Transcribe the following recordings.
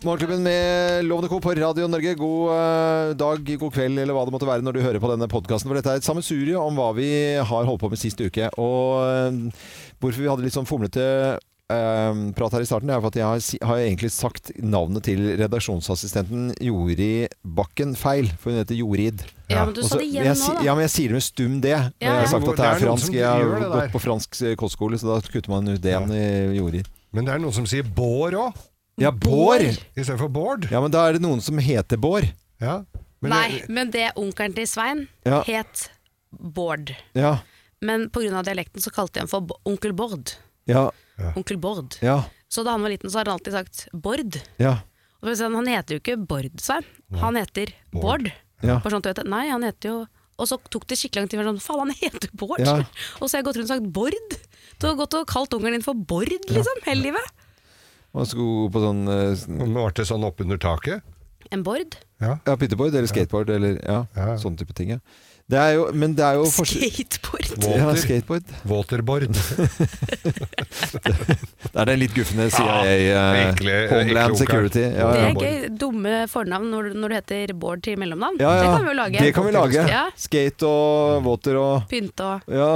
Morgenklubben med Lovende Co. på Radio Norge. God eh, dag, god kveld eller hva det måtte være når du hører på denne podkasten. For dette er et sammensurie om hva vi har holdt på med sist uke. Og eh, hvorfor vi hadde litt sånn fomlete eh, prat her i starten, det er for at jeg har, si- har egentlig sagt navnet til redaksjonsassistenten Jori Bakken feil. For hun heter Jorid. Ja, men du Og sa så- det men igjen jeg, nå, si- da. Ja, men jeg sier det med stum D. Og ja. Jeg har sagt at det Hvor- er det er noen fransk. som Jeg har gjør det der. gått på fransk eh, kostskole, så da kutter man ut D-en i Jorid. Men det er noen som sier Bård òg, Ja, Bård! istedenfor Bård. Ja, men da er det noen som heter Bård. Ja. Men Nei, det- men det onkelen til Svein Ja. het Bård. Ja, Men pga. dialekten så kalte jeg ham for B- onkel Bård. ja, Onkel Bård. ja, Så da han var liten, så hadde han alltid sagt Bård. ja. Og så sa han, han heter jo ikke Bård, Svein. Han heter Bård. Ja. Bare sånn at du vet det. Nei, han heter jo Og så tok det skikkelig lang tid. jeg var Sånn, Faen, han heter Bård! Ja. Og så har jeg gått rundt og sagt Bård. Du har gått og kalt ungeren din for Bård, liksom, hele livet. Man skulle gå på sånn eh, Nå ble det sånn oppunder taket. En Bård? Ja. Sånn ja, pytteboard eller skateboard eller ja, Ja. sånne type ting. Ja. Det er jo, men det er jo forskjell- Skateboard. Båter. Ja, skateboard. Waterboard. Det er den litt guffende CIA, eh, ekle- ekle Homeland onkel. Security. Ja, Det ja. er gøy. Dumme fornavn når, du- når du heter Bård til mellomnavn. Ja, ja. Det kan vi jo lage. Det kan vi lage. Ja. Skate og water og Pynte og ja,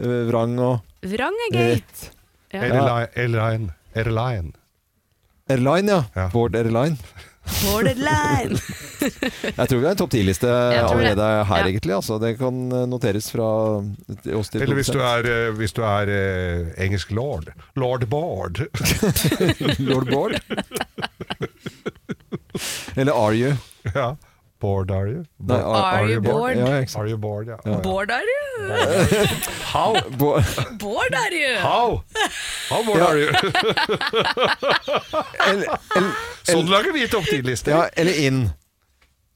eh, vrang og Vrang er gøy. rett. Ja. Airline. Airline. Airline. Airline, ja. Ja. Bård Airline. Borderline. Jeg tror vi har en topp 10-liste Jeg tror det. allerede her, Ja. egentlig. Altså. Det kan eh, noteres fra oss til Eller hvis du produsent. er, eh, hvis du er eh, engelsk lord. Lord Bård. Lord Bård. Eller Are You? ja. Bård are you? Nei, Bård- Are you bored? Ja, ikke sant. Are you bored, ja. Bård er du? How? Bård. Bård er du! How? How bored Ja. are you? Eller, eller, Sånn lager vi topp 10-lister. ja, eller In.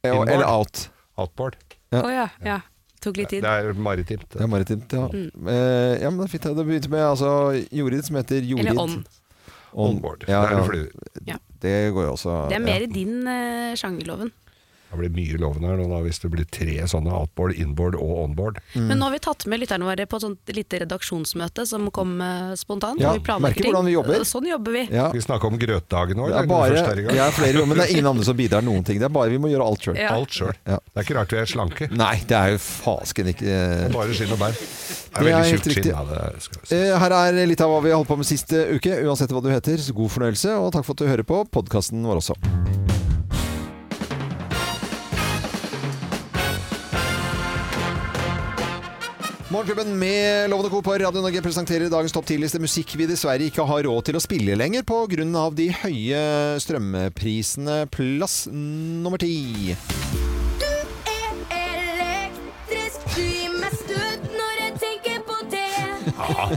Inboard. Eller Out. Outboard. Å ja. ja. Tok litt tid. Det er maritimt. Det er maritimt, ja. Mm. Eh, ja, men det er fint. ja. Det begynte med altså, Jorid, som heter Jorid. Eller ånd. Ånd. Onboard. Ja, Det er ja. en flue. Det går jo også Det er mer ja. i din uh, sjangerloven. Det blir mye lovende her nå da, hvis det blir tre sånne outboard, inboard og onboard. Mm. Men nå har vi tatt med lytterne våre på et sånt lite redaksjonsmøte som kom eh, spontant. Ja, og vi planlegger merker ting. hvordan vi jobber. Sånn jobber vi. Ja. Vi snakka om grøtdagen nå. Det eller? er bare, Første her i gang. jeg er flere ganger, men det er ingen andre som bidrar noen ting. Det er bare vi må gjøre alt sjøl. Ja. Alt sjøl. Ja. Det er ikke rart vi er slanke. Nei, det er jo fasken ikke eh, Bare skinn og bær. Det Det er er veldig helt tjukt skinn. riktig. Ja, det skal vi si. Eh, Her er litt av hva vi har holdt på med sist eh, uke. Uansett hva du heter, så god fornøyelse, og takk for at du hører på podkasten vår også. Morgenklubben med Lovende Co. på Radio Norge presenterer dagens topp 10-liste musikk vi dessverre ikke har råd til å spille lenger pga. de høye strømprisene. Plass nummer ti. Elektrisk, du gir meg støt når jeg tenker på det. Ah,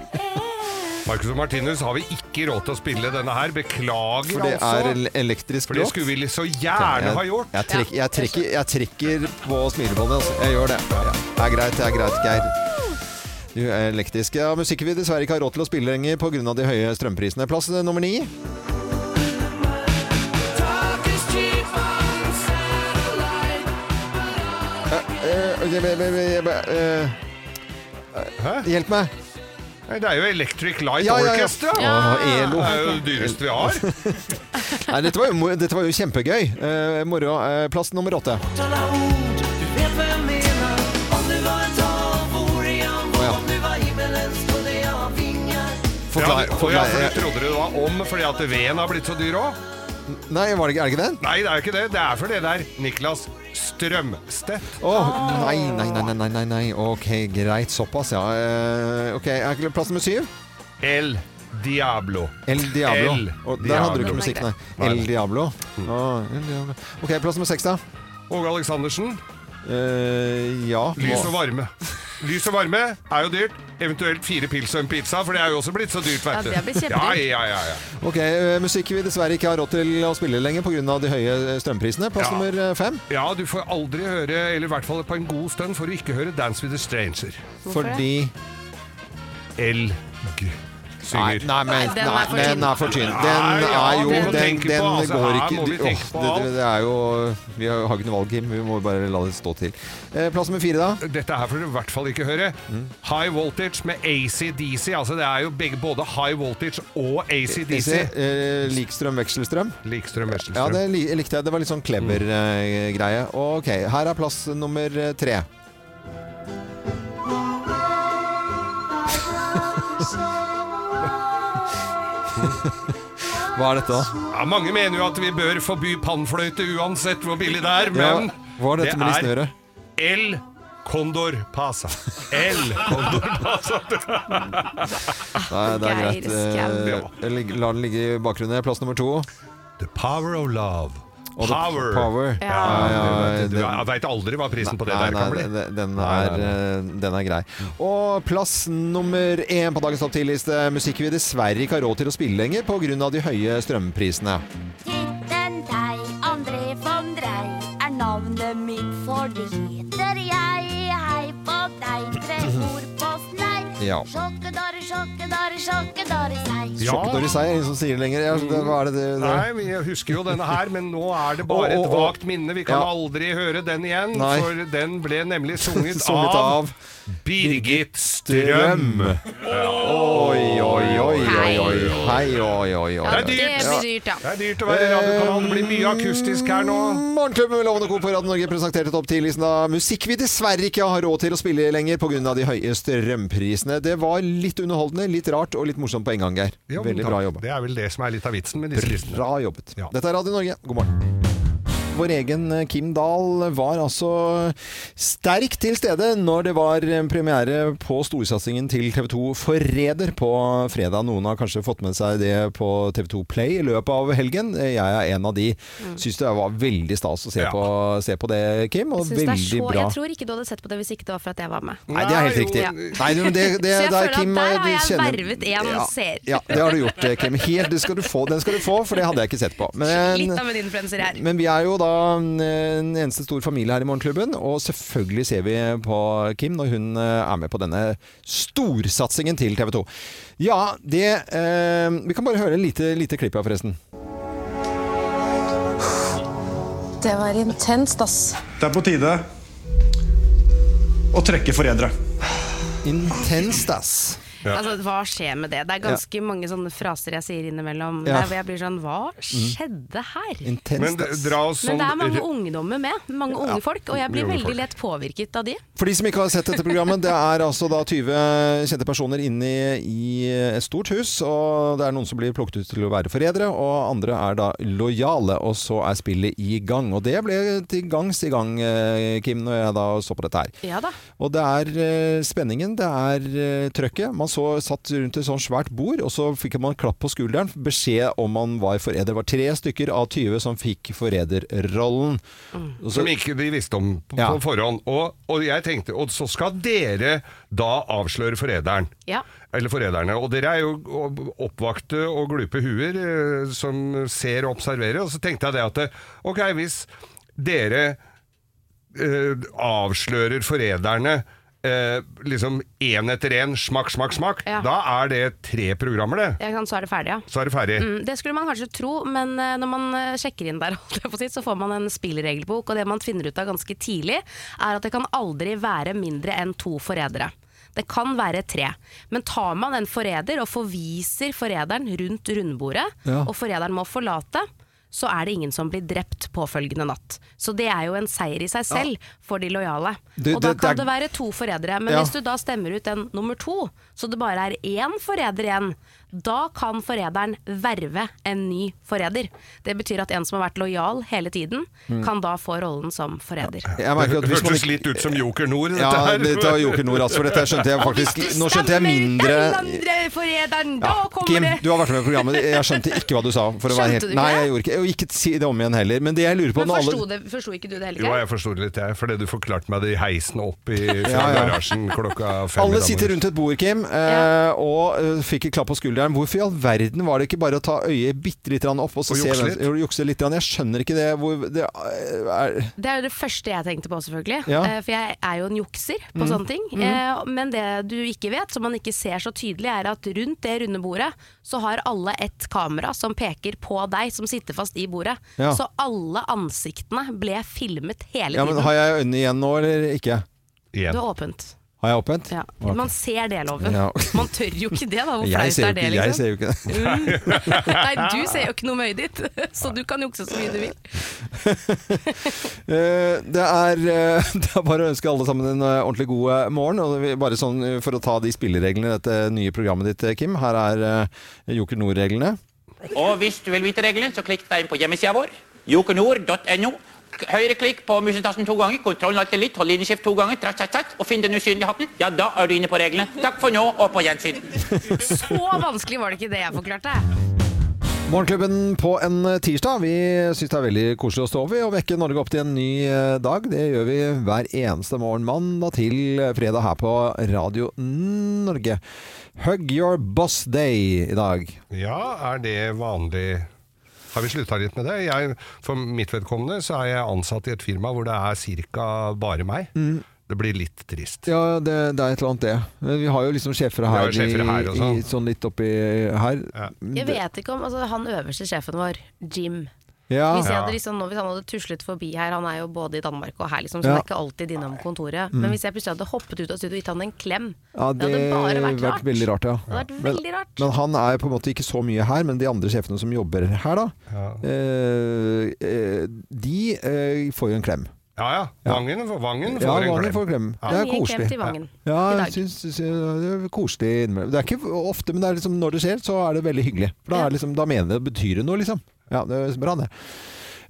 Marcus og Martinus har vi ikke råd til å spille denne her. Beklager, For det er altså. el- elektrisk For det låt. skulle vi li- så Ja, gjerne jeg- ha gjort. Jeg, trekk, jeg, trekker, jeg trekker på smilebåndet. Altså. Jeg gjør det. Ja. Det er greit, det er greit, Geir. Du er elektrisk. Ja, musikken vi dessverre ikke har råd til å spille lenger pga. de høye strømprisene. Plass eh, nummer ni. Eh, eh, eh, eh, eh, eh, Hæ? Hjelp meg! Nei, Det er jo Electric Light Ja, ja, ja. Orchestra. Åh, ELO. Det er jo det dyreste vi har. Nei, dette var jo, mo- dette var jo kjempegøy. Eh, moro. Eh, plass nummer åtte. Forklar. Ja, for jeg, for forklar. jeg trodde det var om fordi at veden har blitt så dyr òg. Nei, var det, ikke- er det ikke den? Nei, det er jo ikke det. Det er fordi det er Niklas Strømstedt. Åh, nei, nei, nei, nei, nei, nei, nei. Ok, greit, såpass, ja. Eh, ok, er ikke det plass nummer syv? El Diablo. El Diablo. El Og der hadde du Diablo. ikke musikk, nei. Nei. Mm. El Diablo. Åh, El Diablo. Ok, plass nummer seks da. Åge Aleksandersen. Eh, ja. Lys og varme. Lys og varme er jo dyrt. Eventuelt fire pils og en pizza, for det er jo også blitt så dyrt, Ja, vet du. det har blitt ja, kjempedyrt. ja, ja, ja. Ok, eh, musikk vi dessverre ikke har råd til å spille lenger på grunn av de høye eh, strømprisene. Plass Ja. nummer eh, fem. ja, du får aldri høre, eller i hvert fall på en god stund, får du ikke høre Dance with a Stranger. Hvorfor det? fordi... LG. Nei, synger. nei, men, Nei, den er nei, for tynn. den er for tynn. Nei, Den ja, er jo det må Den, vi den tenke på, altså. går Her ikke må vi Åh, tenke på det, alt. det, det er jo Vi har har ikke noe valg, Kim. Vi må bare la det stå til. Eh, Plass nummer fire, da? Dette her får du i hvert fall ikke høre. High Voltage med ACDC. Altså det er jo begge, både High Voltage og ACDC. Eh, Likstrøm, vekselstrøm? Likstrøm Ja, Vesselstrøm. det li likte jeg. Det var litt sånn clever eh, greie. Ok, her er plass nummer eh, tre. Hva er dette, da? Ja, mange mener jo at vi bør forby pannfløyte uansett hvor billig det er, men Ja, hva har dette med listen å gjøre? El Condor Pasa. El Condor Pasa. Nei, det er Geir greit. Eh, Skau. jeg lig- la den ligge i bakgrunnen. Plass nummer to. The power of love. Og the Power. power. Ja. Ja, ja, du den- jeg veit aldri hva prisen på det Nei, der nei, kan bli. den, den, Nei, nei, er, eh, den er grei. Og plass nummer én på dagens topp 10-liste. Musikk vi dessverre ikke har råd til å spille lenger pga. de høye strømprisene. Titten Tei, André von Drei, er navnet mitt, for det heter jeg. Hei på deg, tre ord på snei. Ja. Sjokkedare, sjokkedare, sjokkedare sei. Ja. Sjokkedorri Sei er ingen som sier det lenger. Ja, altså, det, hva er det, det, det? Nei, vi husker jo denne her, men nå er det bare Å, å, å. et vagt minne. Vi kan Ja. aldri høre den igjen, Nei. for den ble nemlig sunget, Sunget av, av Birgit Strøm. Oi, oi, oi, oi, oi. Hei, oi, oi, Ja, oi. Det er dyrt. det blir dyrt, ja. Det er dyrt å være Eh, radiokanal. Det blir mye akustisk her nå. Morgenklubben med Lovende Co på Radio Norge presenterte topp 10-listen av musikk vi dessverre ikke har råd til å spille lenger pga. de høye strømprisene. Det var litt underholdende, litt rart og litt morsomt på en gang, Geir. Jo, Veldig takk. bra jobba. Det er vel det som er litt av vitsen med disse listene. Bra jobbet. Ja. Dette er Radio Norge. God morgen. Vår egen eh, Kim Dahl var altså sterkt til stede når det var eh, premiere på storsatsingen til TV 2 Forræder på fredag. Noen har kanskje fått med seg det på TV 2 Play i løpet av helgen. Eh, Jeg er en av de. Mm. Syns det var veldig stas å se, Ja. på, se på det, Kim. Og Syns det er veldig så, bra. jeg tror ikke du hadde sett på det hvis ikke det var for at jeg var med. Nei, det er helt Nei, riktig. jo. Nei, men det, det, Så jeg der, føler at Kim, der har du jeg kjenner- vervet en seer. Ja, det har du gjort, eh, Kim. Helt, det skal du få, den skal du få, for det hadde jeg ikke sett på. Men- Litt av en influenser her. men vi er jo da mm, en eneste stor familie her i Morgenklubben, og selvfølgelig ser vi på Kim når hun eh, er med på denne storsatsingen til TV 2. Ja, det eh, Vi kan bare høre et lite, lite klipp her, forresten. Det var intenst, ass. Det er på tide å trekke forrædere. Intenst, ass. Altså, hva skjer med det? Det er ganske mange sånne fraser jeg sier innimellom Ja. der hvor jeg blir sånn Hva skjedde her? Intenst, Men d- ass. dra oss Men Mm. sånn det er mange ungdommer med. Mange unge folk. Og jeg blir Unge folk. veldig lett påvirket av de. For de som ikke har sett dette programmet, det er altså da 20 kjente personer inne i et stort hus, og det er noen som blir plukket ut til å være forrædere, og andre er da lojale, og så er spillet i gang. Og det ble til gangs i gang, eh, Kim, når jeg da så på dette her. Ja da. Og det er eh, spenningen, det er eh, trøkket. Man så satt rundt et sånt svært bord, og så fikk man klapp på skulderen. Beskjed om man var forræder. Det var tre stykker av 20 som fikk forræderrollen. Og så- Som ikke de visste om på, Ja. på forhånd. Og, og jeg tenkte Og så skal dere da avsløre forræderen. Ja. Eller forræderne. Og dere er jo o- oppvakte og glupe huer eh, som ser og observerer. Og så tenkte jeg det at eh, Ok, hvis dere eh, avslører forræderne eh, liksom én etter én, smakk, smakk, smakk, Ja. da er det tre programmer, det. Jeg kan, så er det ferdig, ja. Så er det ferdig. Mm, Det skulle man kanskje tro, men eh, når man eh, sjekker inn der, holdt jeg på å si, så får man en spilleregelbok, og det man finner ut av ganske tidlig, er at det kan aldri være mindre enn to forrædere. Det kan være tre, men tar man en forræder og forviser forræderen rundt rundbordet, Ja. og forræderen må forlate, så er det ingen som blir drept påfølgende natt. Så det er jo en seier i seg selv for de lojale. Det- og da det- kan det er- det være to forrædere, men Ja. hvis du da stemmer ut den nummer to, så det bare er én forræder igjen, da kan forræderen verve en ny forræder. Det betyr at en som har vært lojal hele tiden, Mm. kan da få rollen som forræder. Jeg merker at Det hvis man hørtes ikke- litt ut som Joker Nord, dette Ja, her. dette var Joker Nord, altså. For dette skjønte jeg faktisk Nå skjønte jeg mindre andre forræderen, ja, da kommer Kim, det! du har vært med i programmet. Jeg skjønte ikke hva du sa. For å Skjønte være helt... du ikke Nei, det? jeg gjorde ikke jo ikke si det om igjen heller. Men det jeg lurer på Men når alle- forsto, det, forsto ikke du det heller? Jo, Geir? jeg forsto det litt, jeg. Fordi du forklarte meg det i heisen opp i fra Ja, ja. garasjen klokka fem. Alle i dag sitter rundt et morges. bord, Kim, eh, Ja. og eh, fikk et klapp på skulderen. Hvorfor i all verden var det ikke bare å ta øyet bitte litt grann opp og, så Og se jukse hvem- litt? jo, jukse litt? Grann. Jeg skjønner ikke det. Hvor, det eh, er, Det er jo det første jeg tenkte på, selvfølgelig. Ja. Mm. Eh, For jeg er jo en jukser på sånne ting. Eh, Men det du ikke vet, som man ikke ser så tydelig, er at rundt det runde bordet så har alle et kamera som peker på deg som sitter fast i bordet. Ja. Så alle ansiktene ble filmet hele ja, tiden. men har jeg øynene igjen nå, eller ikke? Det Igjen. var åpent. Har jeg åpent? Ja. Ok. Man ser det, Loven. Ja. Man tør jo ikke det, da. Hvor Jeg flaut ser, jo er det, ikke, jeg liksom? ser jo ikke det. Nei, du ser jo ikke noe med øyet ditt, så du kan jukse så mye du vil. Eh, Det er, eh, det er bare å ønske alle sammen en eh, ordentlig god eh, morgen. Og vi- bare sånn eh, for å ta de spillereglene i dette nye programmet ditt, eh, Kim. Her er eh, Joker Nord-reglene. Og hvis du vil vite reglene, så klikk deg inn på hjemmesida vår, jokernord.no. Høyreklikk på musetassen to ganger, kontrollen alltid litt, hold linjeskift to ganger, tratt, tratt, tratt, og finn den usynlige hatten. Ja, da er du inne på reglene. Takk for nå, og på gjensyn. Så vanskelig var det ikke det jeg forklarte. Morgenklubben på en eh, tirsdag. Vi syns det er veldig koselig å stå over og vekke Norge opp til en ny eh, dag. Det gjør vi hver eneste morgen, mandag til eh, fredag her på Radio Norge. Hug your boss day i dag. Ja, er det vanlig Har vi slutta litt med det? Jeg, for mitt vedkommende så er jeg ansatt i et firma hvor det er ca. bare meg. Mm. Det blir litt trist. Ja, det, det er et eller annet det. Men vi har jo liksom sjefer her, har jo sjefer her i, også. i, sånn litt oppi her. Ja. Jeg vet ikke om altså, Han øverste sjefen vår, Jim Ah. Ja. hvis, jeg Ja. hadde liksom, nå, hvis han hadde tuslet forbi her Han er jo både i Danmark og her, liksom, så Ja. Mm. han er ikke alltid innom kontoret. Men hvis jeg plutselig hadde hoppet ut av studio og gitt han en klem Ja, Det hadde bare vært rart. veldig rart. Ja. Det hadde vært Men- veldig rart. Men han er på en måte ikke så mye her, men de andre sjefene som jobber her, da, eh, eh, de eh, får jo en klem. Ja ja. Vangen, Vangen får Ja, en Vangen klem. får klem. Ja. Det er Mye klem koselig. til Vangen i Ja, dag. jeg syns, syns jeg det er koselig innimellom. Det er ikke ofte, men det er liksom, når det skjer, så er det veldig hyggelig. For da, er det liksom, da mener det betyr det noe, liksom. Ja, det er bra, det.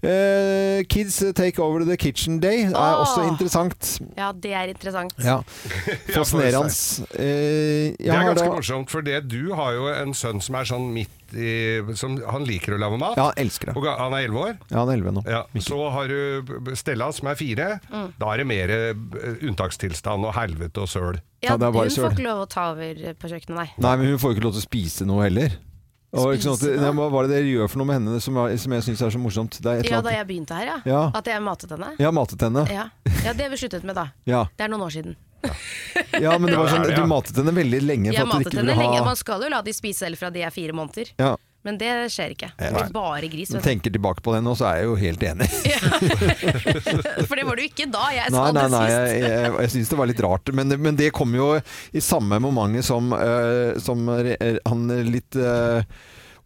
Eh, kids Take Over The Kitchen Day er Åh! også interessant. Ja, det er interessant. Ja. Fascinerende. Eh, jeg Det er har ganske da- morsomt, for det, du har jo en sønn som er sånn midt i som, Han liker å lage mat. Ja, han elsker det. Og ga- han er elleve år. Ja, han er 11 nå. Ja, så har du b- b- Stella som er fire. Mm. Da er det mer eh, unntakstilstand og helvete og søl. Ja, Ja, det er bare hun søl. får ikke lov å ta over på kjøkkenet, nei. Nei, men hun får jo ikke lov til å spise noe heller. Og, ikke sant, Spise nei, noe? men hva er det dere gjør for noe med henne som, er, som jeg syns er så morsomt? Det er et Ja, eller da annet. jeg begynte her, ja. Ja. At jeg matet henne. Jeg har matet henne. Ja. ja, det har vi sluttet med, da. Ja. Det er noen år siden. ja, men det var Ja, sånn, det er det, du ja. matet henne veldig lenge for at Jeg dere matet ikke henne ville lenge. ha Man skal jo la de spise selv fra de er fire måneder. ja. Men det skjer ikke. Det blir bare gris. Når jeg Vet du. tenker tilbake på det nå, så er jeg jo helt enig. For det var du ikke da jeg Nei, sa nei, det nei, sist. jeg, jeg, jeg syns det var litt rart. Men, det- men det kom jo i samme momentet som, eh, som re- han litt eh,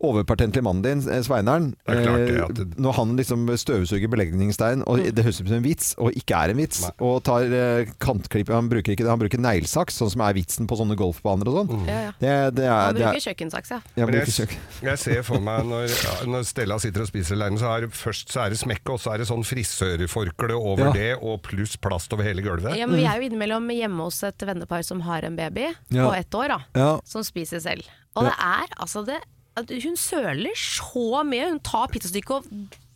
overpatentlige mannen din, eh, Sveineren. Det er klart det eh, at det- Når han liksom støvsuger belegningsstein, og Mm. det høres ut som en vits, og ikke er en vits, Nei. og tar eh, kantklipp Han bruker ikke det, han bruker neglesaks, sånn som er vitsen på sånne golfbaner og sånn. Mm. Ja, ja. Det, det er, Han det er, bruker kjøkkensaks, ja. jeg Men bruker jeg, søk. jeg ser for meg når, når Stella sitter og spiser alene, så er det først så er det smekke, og så er det sånn frisørforkle over Ja. det, og pluss plast over hele gulvet. Ja, men Vi er jo innimellom hjemme hos et vennepar som har en baby Ja. på ett år, da, Ja. som spiser selv. Og det er altså det at Hun søler så mye. Hun tar pizzastykket og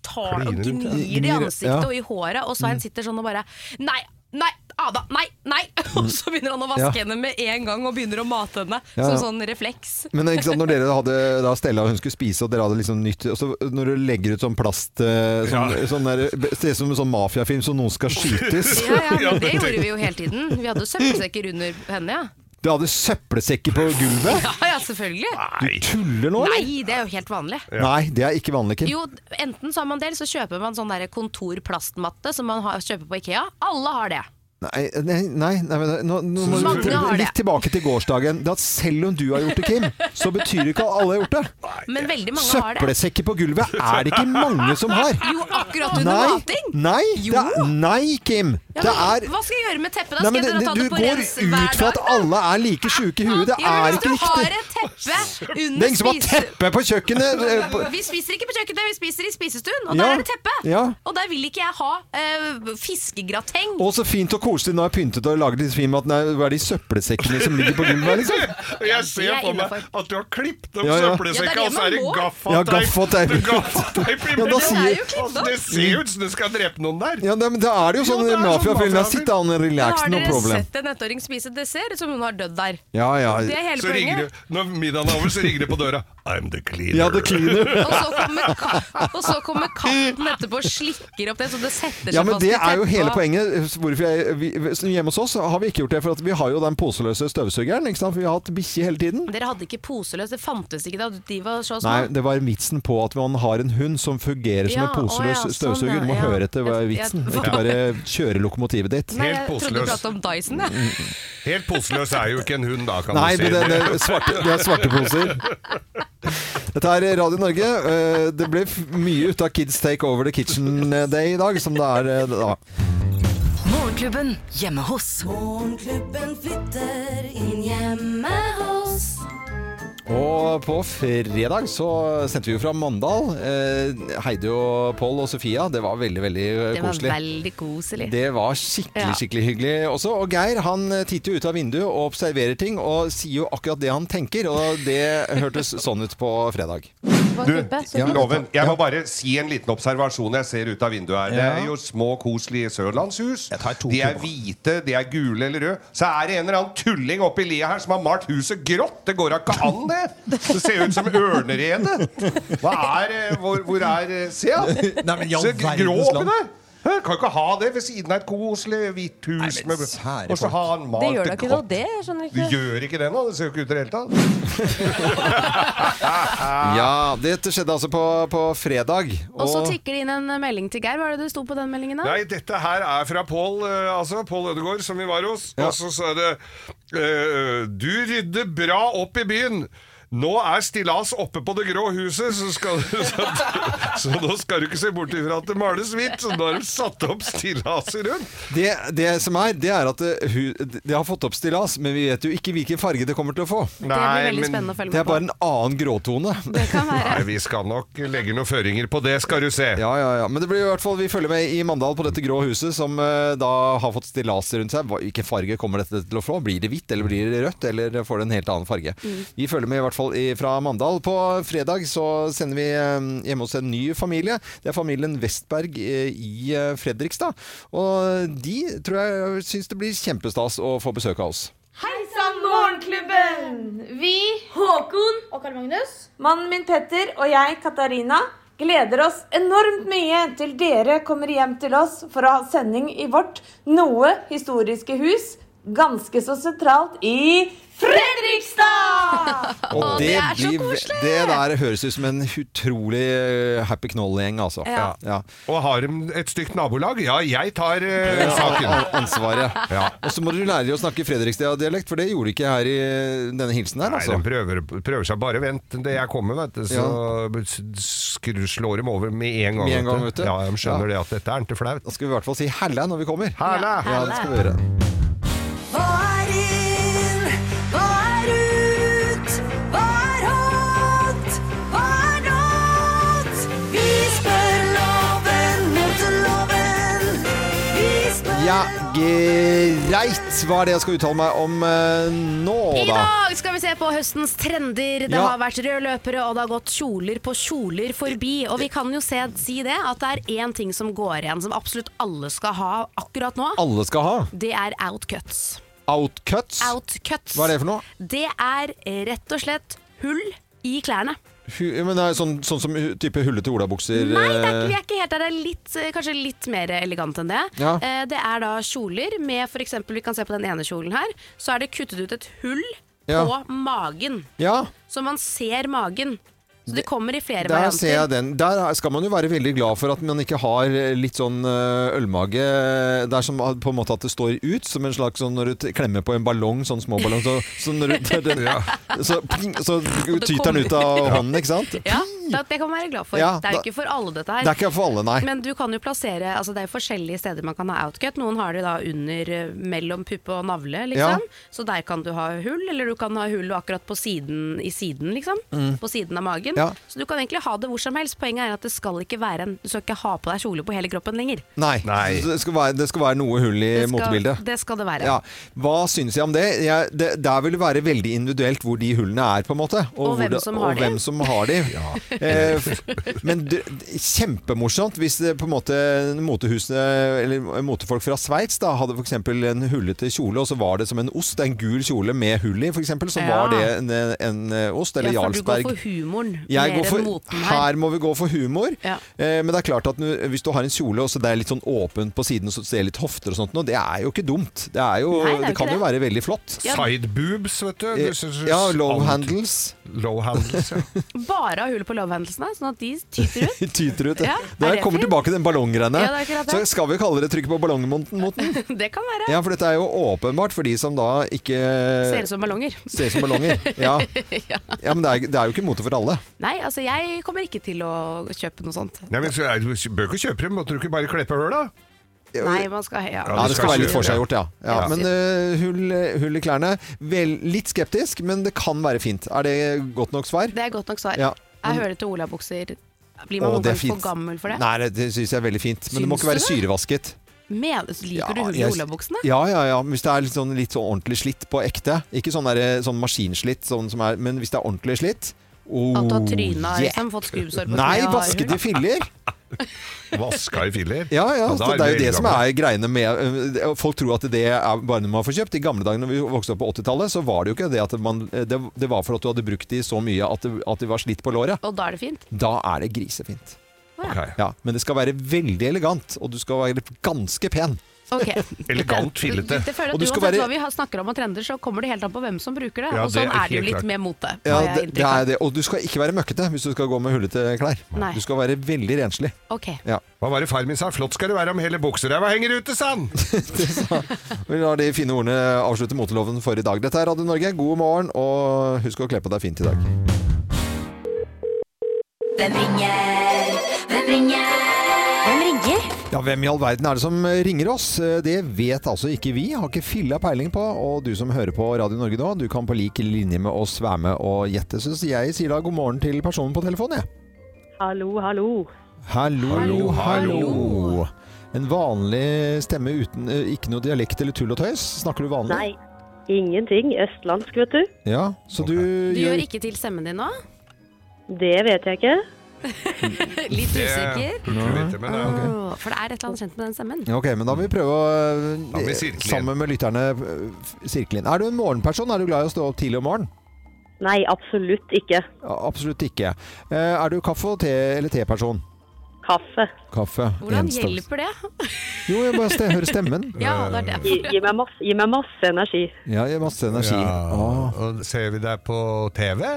tar og Kliner rundt, ja. gnir det i Gnir, ansiktet ja. og i håret, og Svein sitter sånn og bare Nei! Nei, Ada, nei, nei! Og så begynner han å vaske Ja. henne med en gang og begynner å mate henne. Ja, ja. Som sånn refleks. Men ikke sant, når dere hadde da Stella og hun skulle spise, og dere hadde liksom nytt og så Når du legger ut sånn plast eh, sånn, Ja. sånn der, Det ser ut som en sånn mafiafilm som noen skal skytes. Ja, ja, Ja, men Det det- gjorde vi jo hele tiden. Vi hadde jo søppelsekker under henne, ja. Du hadde søppelsekker på gulvet? Ja, ja, selvfølgelig. Du tuller nå, eller? Nei, det er jo helt vanlig. Nei, det er ikke vanlig, Kim. Jo, enten så har man det, eller så kjøper man sånn der kontorplastmatte som man har, kjøper på Ikea. Alle har det. Nei, nei, nei, nei men nå, nå må Mange du har det. litt tilbake til gårsdagen. Det at selv om du har gjort det, Kim, så betyr det ikke at alle har gjort det. Men veldig mange har det. Søppelsekker på gulvet er det ikke mange som har. Jo, akkurat under Nei, mating! nei, det er, Jo. nei Kim. Ja, Det men er hva skal jeg gjøre med teppet? da? Nei, Skal men jeg det, dra og ta du det på går rens hver ut fra at dag? alle er like sjuke i huet. Det Ja, men er ikke Hvis du har riktig. et teppe Det er under ingen som har spise... teppe på kjøkkenet! eh, på- Vi spiser ikke på kjøkkenet, vi spiser i spisestuen, og Ja, der er det teppe. ja. Og der vil ikke jeg ha eh, fiskegrateng. Og så fint og koselig. Nå har jeg pyntet og laget litt fin mat. Nei, hva er de søppelsekkene som ligger på gulvet her, liksom? Og jeg ser det er for meg innenfor. at du har klippet opp Ja, ja. Ja, det er søppelsekka, det og så er det man må. Ja, gaffateip. gaffateip. Det er gaffateip i Ja, da munnen. sier- Det er jo klippet Altså, opp. Det ser ut som du skal drepe noen der. Ja, det, men da er det jo Jo, sånn det er sånn mafiafilm. mafiafilm. Sitt down and Men relax, har no dere problem. sett en ettåring spise dessert som hun har dødd der? Ja, ja. Det er hele Så ringer poenget. det, når middagen er over, så ringer det på døra. I'm the cleaner. Ja, det cleaner. Og så, kommer ka og så kommer katten etterpå og slikker opp det, så det setter seg Ja, men fast det i er jo teppet. hele poenget. Hvorfor jeg, vi, hjemme hos oss har vi ikke gjort det, for at vi har jo den poseløse støvsugeren. Ikke sant? For vi har hatt bikkje hele tiden. Dere hadde ikke poseløs, det fantes ikke da de var så små. Nei, det var vitsen på at man har en hund som fungerer som Ja, en poseløs å ja, sånn, støvsuger. Du må ja. høre etter hva er Jeg- vitsen, jeg- ikke bare kjøre lokomotivet ditt. Nei, Helt jeg trodde poseløs. du pratet om Dyson, Mm, jeg. Helt poseløs er jo ikke en hund, da, kan Nei, du si. men det, det, er svarte, det er svarte poser. Dette er Radio Norge. Eh, Det ble f- mye ut av Kids Take Over the Kitchen eh, Day i dag, som det er eh, da. Morgenklubben hjemme hos. Morgenklubben flytter inn hjemme hos Og på fredag så sendte vi jo fra Mandal. eh, Heidi og Pål og Sofia. Det var veldig, veldig eh, Det var koselig. veldig koselig. Det var skikkelig Ja. skikkelig hyggelig også. Og Geir han eh, titter jo ut av vinduet og observerer ting, og sier jo akkurat det han tenker. Og det hørtes sånn ut på fredag. Du, Loven, jeg må bare si en liten observasjon jeg ser ut av vinduet her. Det er jo små, koselige sørlandshus. Jeg tar to De er kroner. hvite, de er gule eller røde. Så er det en eller annen tulling oppi lia her som har malt huset grått! Det går da ikke an, det! Det ser ut som ørnerede! Hva er eh, Hvor, hvor er eh, Se, ja! Nei, men i all Se grå verdens oppi land. der! Hæ, Kan ikke ha det ved siden av et koselig hvitt hus men med sære Og så folk. har han Det malt gjør da det ikke noe, grått. det. Jeg skjønner Du ikke. gjør ikke det nå? Det ser jo ikke ut i det hele tatt. Ja, dette skjedde altså på, på fredag. Og så tikker det inn en melding til Geir. Hva er det det sto på den meldingen? da? Nei, dette her er fra Pål eh, altså, Pål Ødegaard, som vi var hos. Og så så er det eh, Du rydder bra opp i byen. Nå er stillas oppe på det grå huset, så, skal, så, så nå skal du ikke se bort ifra at det males hvitt. Så nå har de satt opp stillaser rundt. det, det som er, det er at det, hu- det har fått opp stillas, men vi vet jo ikke hvilken farge det kommer til å få. det blir veldig spennende å Det følge med er på. bare en annen gråtone. Det kan være. Nei, vi skal nok legge noen føringer på det, skal du se. Ja, ja, ja. Men det blir jo i hvert fall, vi følger med i Mandal på dette grå huset, som eh, da har fått stillas rundt seg. Hva- Hvilken farge kommer dette til å få? Blir det hvitt, eller blir det rødt, eller får det en helt annen farge? Mm. Vi følger med i hvert fall i, fra Mandal. På fredag så sender vi eh, hjemme hos en ny familie. Det er familien Vestberg eh, i eh, Fredrikstad. Og de tror jeg syns det blir kjempestas å få besøk av oss. Hei sann, Morgenklubben! Vi, Håkon og Karl Magnus, mannen min Petter og jeg, Katarina, gleder oss enormt mye til dere kommer hjem til oss for å ha sending i vårt noe historiske hus, ganske så sentralt i Fredrikstad! Og Å, det er så koselig! Det der høres ut som en utrolig eh, happy knoll-gjeng, altså. Ja. ja. Og har de et stygt nabolag? Ja, jeg tar eh, saken. An- ansvaret. Og så må dere lære dere å snakke Fredrikstad-dialekt, for det gjorde de ikke her i denne hilsen her, Nei, altså. de prøver, prøver seg bare. Vent det jeg kommer, vet du. Så skru, slår de over med en gang. Med en gang, vet du. Ja, De skjønner det at dette er ikke flaut. Da skal vi i hvert fall si 'hælla' når vi kommer. Hæla! Ja, det skal vi gjøre. Hva er inn? Hva er ut? Hva er hot? Hva er not? Vi spør loven mot loven. Vi spør Ja, greit. Hva er det jeg skal uttale meg om eh, nå, I da? dag skal vi se på høstens trender. Det Ja. har vært røde løpere, og det har gått kjoler på kjoler forbi. Og vi kan jo se, si det, at det er én ting som går igjen, som absolutt alle skal ha akkurat nå. Alle skal ha Det er outcuts. outcuts. Outcuts. Hva er det for noe? Det er rett og slett hull i klærne. Hu- Men det er sånn, sånn som hu- type hullete olabukser? Nei, det er ikke, vi eh, er ikke helt der. Det er litt, eh, kanskje litt mer elegant enn det. Ja. Eh, Det er da kjoler med f.eks. Vi kan se på den ene kjolen her. Så er det kuttet ut et hull Ja. på magen. Ja, Så man ser magen. Så det kommer i flere der ser jeg varianter. den. Der er- skal man jo være veldig glad for at man ikke har litt sånn eh, ølmage Det er som at- på en måte at det står ut, som en slags sånn når du t- klemmer på en ballong, sånn små ballong, så, så når du tar den, så, pling, så tyter den ut av hånden, ikke sant? Ja. Pling, at det kan man være glad for. Ja, det er da- jo ikke for alle dette her. Det er ikke for alle, nei. Men du kan jo plassere altså Det er jo forskjellige steder man kan ha outcut. Noen har det da under eh, mellom puppe og navle, Ja. liksom. Så der kan du ha hull, eller du kan ha hull akkurat på siden i siden, liksom. På siden av magen. Mm. Ja. Så du kan egentlig ha det hvor som helst. Poenget er at det skal ikke være en Du skal ikke ha på deg kjole på hele kroppen lenger. Nei. Nei. Så Det, skal være, det skal være noe hull i Det skal Eh, motebildet. det, skal det være. Ja. Hva syns jeg om det? Jeg, det? Der vil det være veldig individuelt hvor de hullene er, på en måte. Og hvor hvem det- som har og de. hvem som har de. Eh, f- men det, kjempemorsomt hvis det på en måte motehusene, eller motefolk fra Sveits da, hadde f.eks. en hullete kjole, og så var det som en ost. En gul kjole med hull i, f.eks. Så Ja. var det en, en ost, eller Ja, for du går Jarlsberg. for humoren Jeg går mer for, enn moten her. her. må vi gå for humor. Ja. Eh, men det er klart at nu- hvis du har en kjole og så det er litt sånn åpent på siden, og så ser litt hofter og sånt, nå, det er jo ikke dumt. Det, er jo, Nei, det, det er jo kan ikke jo være veldig flott. Ja. Side boobs, vet du. Eh, Du synes- Ja, low alt- handles. Low handles, ja. Bare ha hull på lovhendelsene, sånn at de tyter ut. Tyter ut. Ja, det er her det kommer fint? tilbake til den ballonggreiene. Ja, det er akkurat så det. skal vi kalle det trykket på ballongmoten. moten. Det kan være. Ja, eh, for dette er jo åpenbart for de som da ikke Ser ut som ballonger. ser ut som ballonger. Ja, ja men det er, det er jo ikke mote for alle. Nei, altså jeg kommer ikke til å kjøpe noe sånt. Nei, men så, er- du bør ikke kjøpe dem, måtte du ikke bare kleppe hull, da? Nei, man skal ja. Ja, det skal være litt kjøre, forseggjort, ja. ja. Ja. Men eh, hull, hull i klærne Vel, Litt skeptisk, men det kan være fint. Er det godt nok svar? Det er godt nok svar. Ja. Jeg hører til olabukser. Å, Blir man noen det er gang for fint. gammel for det? Nei, det, det syns jeg er veldig fint. Men det må Syns ikke være du syrevasket. Men, liker Ja, du hull i jeg- olabuksene? Ja, ja, ja. Men Hvis det er litt sånn, litt sånn ordentlig slitt på ekte. Ikke sånn, der, sånn maskinslitt, sånn som er, men hvis det er ordentlig slitt oh, At du har tryna yeah. liksom, fått skrubbsår Nei, på trynet og har vaskede hull? filler! Vaska i filler. Ja, ja, Og da så Det er jo vi det som eldgamle. er greiene med eh, Folk tror at det er bare noe man får kjøpt. I gamle dager når vi vokste opp på 80-tallet, så var det jo ikke det at man eh, Det, det var for at du hadde brukt de så mye at det, at de var slitt på låret. Og da er det fint? Da er det grisefint. Å, ja. Ok. Ja, men det skal være veldig elegant, og du skal være ganske pen. Ok. Elegant fillete. Det føler Og du at Uansett skal være- hva vi har- snakker om og trender, så kommer det helt an på hvem som bruker det. Ja, og det sånn er er det jo helt litt klart. med mote. Ja, har jeg det, det inntrykk av. er det. Og du skal ikke være møkkete hvis du skal gå med hullete klær. Nei. Du skal være veldig renslig. Ok. Ja. Hva var det far min sa? Flott skal det være om hele bukseræva henger ute, sann! Vi lar de fine ordene avslutte moteloven for i dag. Dette er Radio Norge, god morgen, og husk å kle på deg fint i dag. Hvem ringer? Hvem ringer? Hvem ringer? Ja, Hvem i all verden er det som eh, ringer oss? Det vet altså ikke vi. Har ikke filla peiling på. Og du som hører på Radio Norge nå, du kan på lik linje med oss være med og gjette. Så jeg sier da god morgen til personen på telefonen, jeg. Hallo, hallo. Hallo, hallo. Hallo, hallo. En vanlig stemme uten eh, ikke noe dialekt eller tull og tøys. Snakker du vanlig? Nei, ingenting. Østlandsk, vet du. Ja, så du, Du gjør gjør ikke til stemmen din nå? Det vet jeg ikke. Litt Det usikker? burde du Ah, vite, men eh, det er Åh, For det er et eller annet kjent med den stemmen. Ja, Ok, men da må vi prøve å Da må vi eh, sirkle inn. sammen med lytterne eh, f- sirkle inn. Er du en morgenperson? Er du glad i å stå opp tidlig om morgenen? Nei, absolutt ikke. Ja, Absolutt ikke. Eh, Er du kaffe- og te- eller teperson? Kaffe. Kaffe. Hvordan enstående. hjelper det? Jo, jeg bare ste- hører stemmen. Ja, det Eh, er Gi, det. gi, meg masse, gi meg masse energi. Ja, jeg har masse energi. Ah, Åh, og ser vi deg på TV?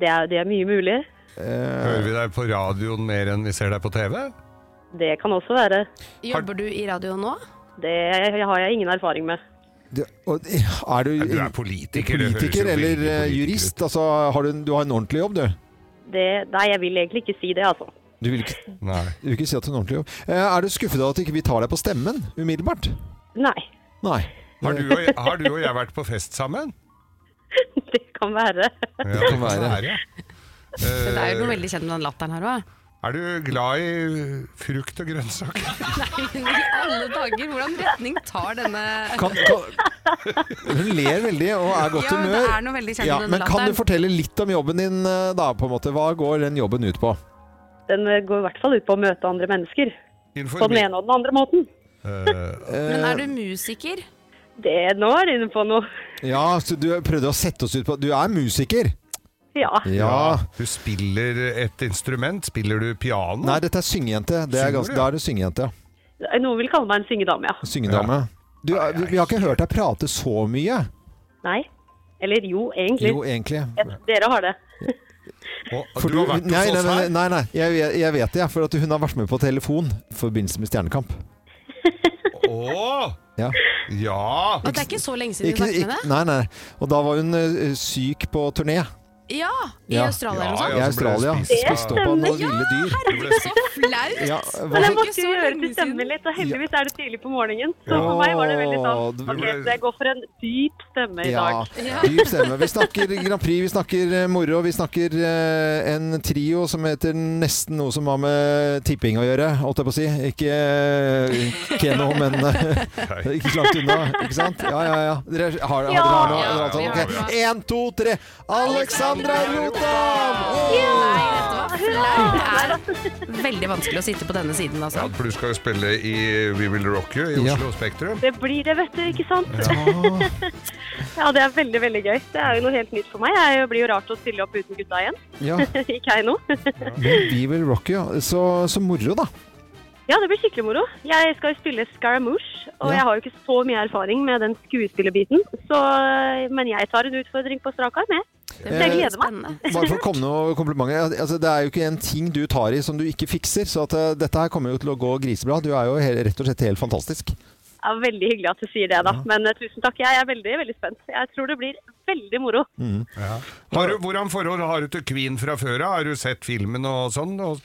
Det er, det er mye mulig. Hører vi deg på radioen mer enn vi ser deg på TV? Det kan også være. Jobber du i radio nå? Det har jeg ingen erfaring med. det- og- eh, Er du Du er politiker. det høres jo politiker veldig eller eh, politiker jurist? ut. Altså, har du, en- du har en ordentlig jobb, du? Det, nei, jeg vil egentlig ikke si det, altså. Du vil ikke, Nei. du vil ikke si at du har en ordentlig jobb. Eh, Er du skuffet av at ikke vi tar deg på stemmen umiddelbart? Nei, Nei. Eh, Har du, og, har du og jeg vært på fest sammen? det kan være. Ja, det kan være. ja. Det er jo noe Eh, veldig kjent med den latteren her òg. er du glad i frukt og grønnsaker? Nei, men i alle dager, hvordan retning tar denne Kan, kan, hun ler veldig og er i godt Ja, men humør. det er noe veldig kjent Ja, med den men kan du latteren. fortelle litt om jobben din, eh, da? på en måte? Hva går den jobben ut på? Den eh, går i hvert fall ut på å møte andre mennesker. På den ene og den andre måten. Eh, Men er du musiker? Det, nå er du inne på noe. Ja, så du prøvde å sette oss ut på Du er musiker? Ja. Ja. Du spiller et instrument. Spiller du piano? Nei, dette er syngejente. Det er Synger ganske, du? da er du syngejente, ja. Noen vil kalle meg en syngedame, ja. Syngedame. Du, eh, vi vi har ikke hørt deg prate så mye. Nei. Eller jo, egentlig. Jo, egentlig. Jeg- Dere har det. Og, For du har vært hos nei, nei, oss nei, her? nei, nei, jeg, jeg- jeg vet det, jeg, for at hun har vært med på telefon i forbindelse med Stjernekamp. Å! Ja. Ja! Og det er ikke så lenge siden du Ikke, snakket med ikke, deg? nei, nei. Og da var hun eh, syk på turné. Ja, i Ja. Australia eller noe Ah, Ja, ja, sånt. I Australia. Det Spist opp av noen stemmer. ville dyr. Flaut! Ja, Men jeg hva- måtte jo gjøre til stemmen litt, og heldigvis er det tidlig på morgenen. Så for meg var det veldig sånn Ja, Ok, det- så jeg går for en dyp stemme i Ja, dag. dyp stemme. Vi snakker Grand Prix, vi snakker eh, moro, vi snakker eh, en trio som heter nesten noe som har med tipping å gjøre, holdt jeg på å si. Ikke eh, Keno, men eh, ikke så langt unna, ikke sant? Ja, ja, ja. Dere har, har, Ja. dere har Ja, noe? Dere har vi sånn, har ok. noe. En, to, tre. Alexandra Rotan! Det er veldig vanskelig å sitte på denne siden, altså. For du skal jo spille i We Will Rock You i Oslo Spektrum. Det blir det, vet du, ikke sant? Ja. det er veldig, veldig gøy. Det er jo noe helt nytt for meg. Jeg blir jo rart å stille opp uten gutta igjen. Ja. I Keiino. Men Vi vil rocke, ja. Så, så moro, da. Ja, det blir skikkelig moro. Jeg skal jo spille Scaramouche, og Ja. jeg har jo ikke så mye erfaring med den skuespillerbiten, så, eh, men jeg tar en utfordring på strak arm, jeg. Så jeg Eh, gleder meg. Bare for å komme med noen komplimenter. Altså, det er jo ikke en ting du tar i som du ikke fikser, så at, eh, dette her kommer jo til å gå grisebra. Du er jo he- rett og slett helt fantastisk. Ja, veldig hyggelig at du sier det, da. Men eh, tusen takk. Jeg er veldig, veldig spent. Jeg tror det blir veldig moro. Mm. Har du, hvordan forhold har du til Queen fra før av? Har du sett filmen og sånn? Og,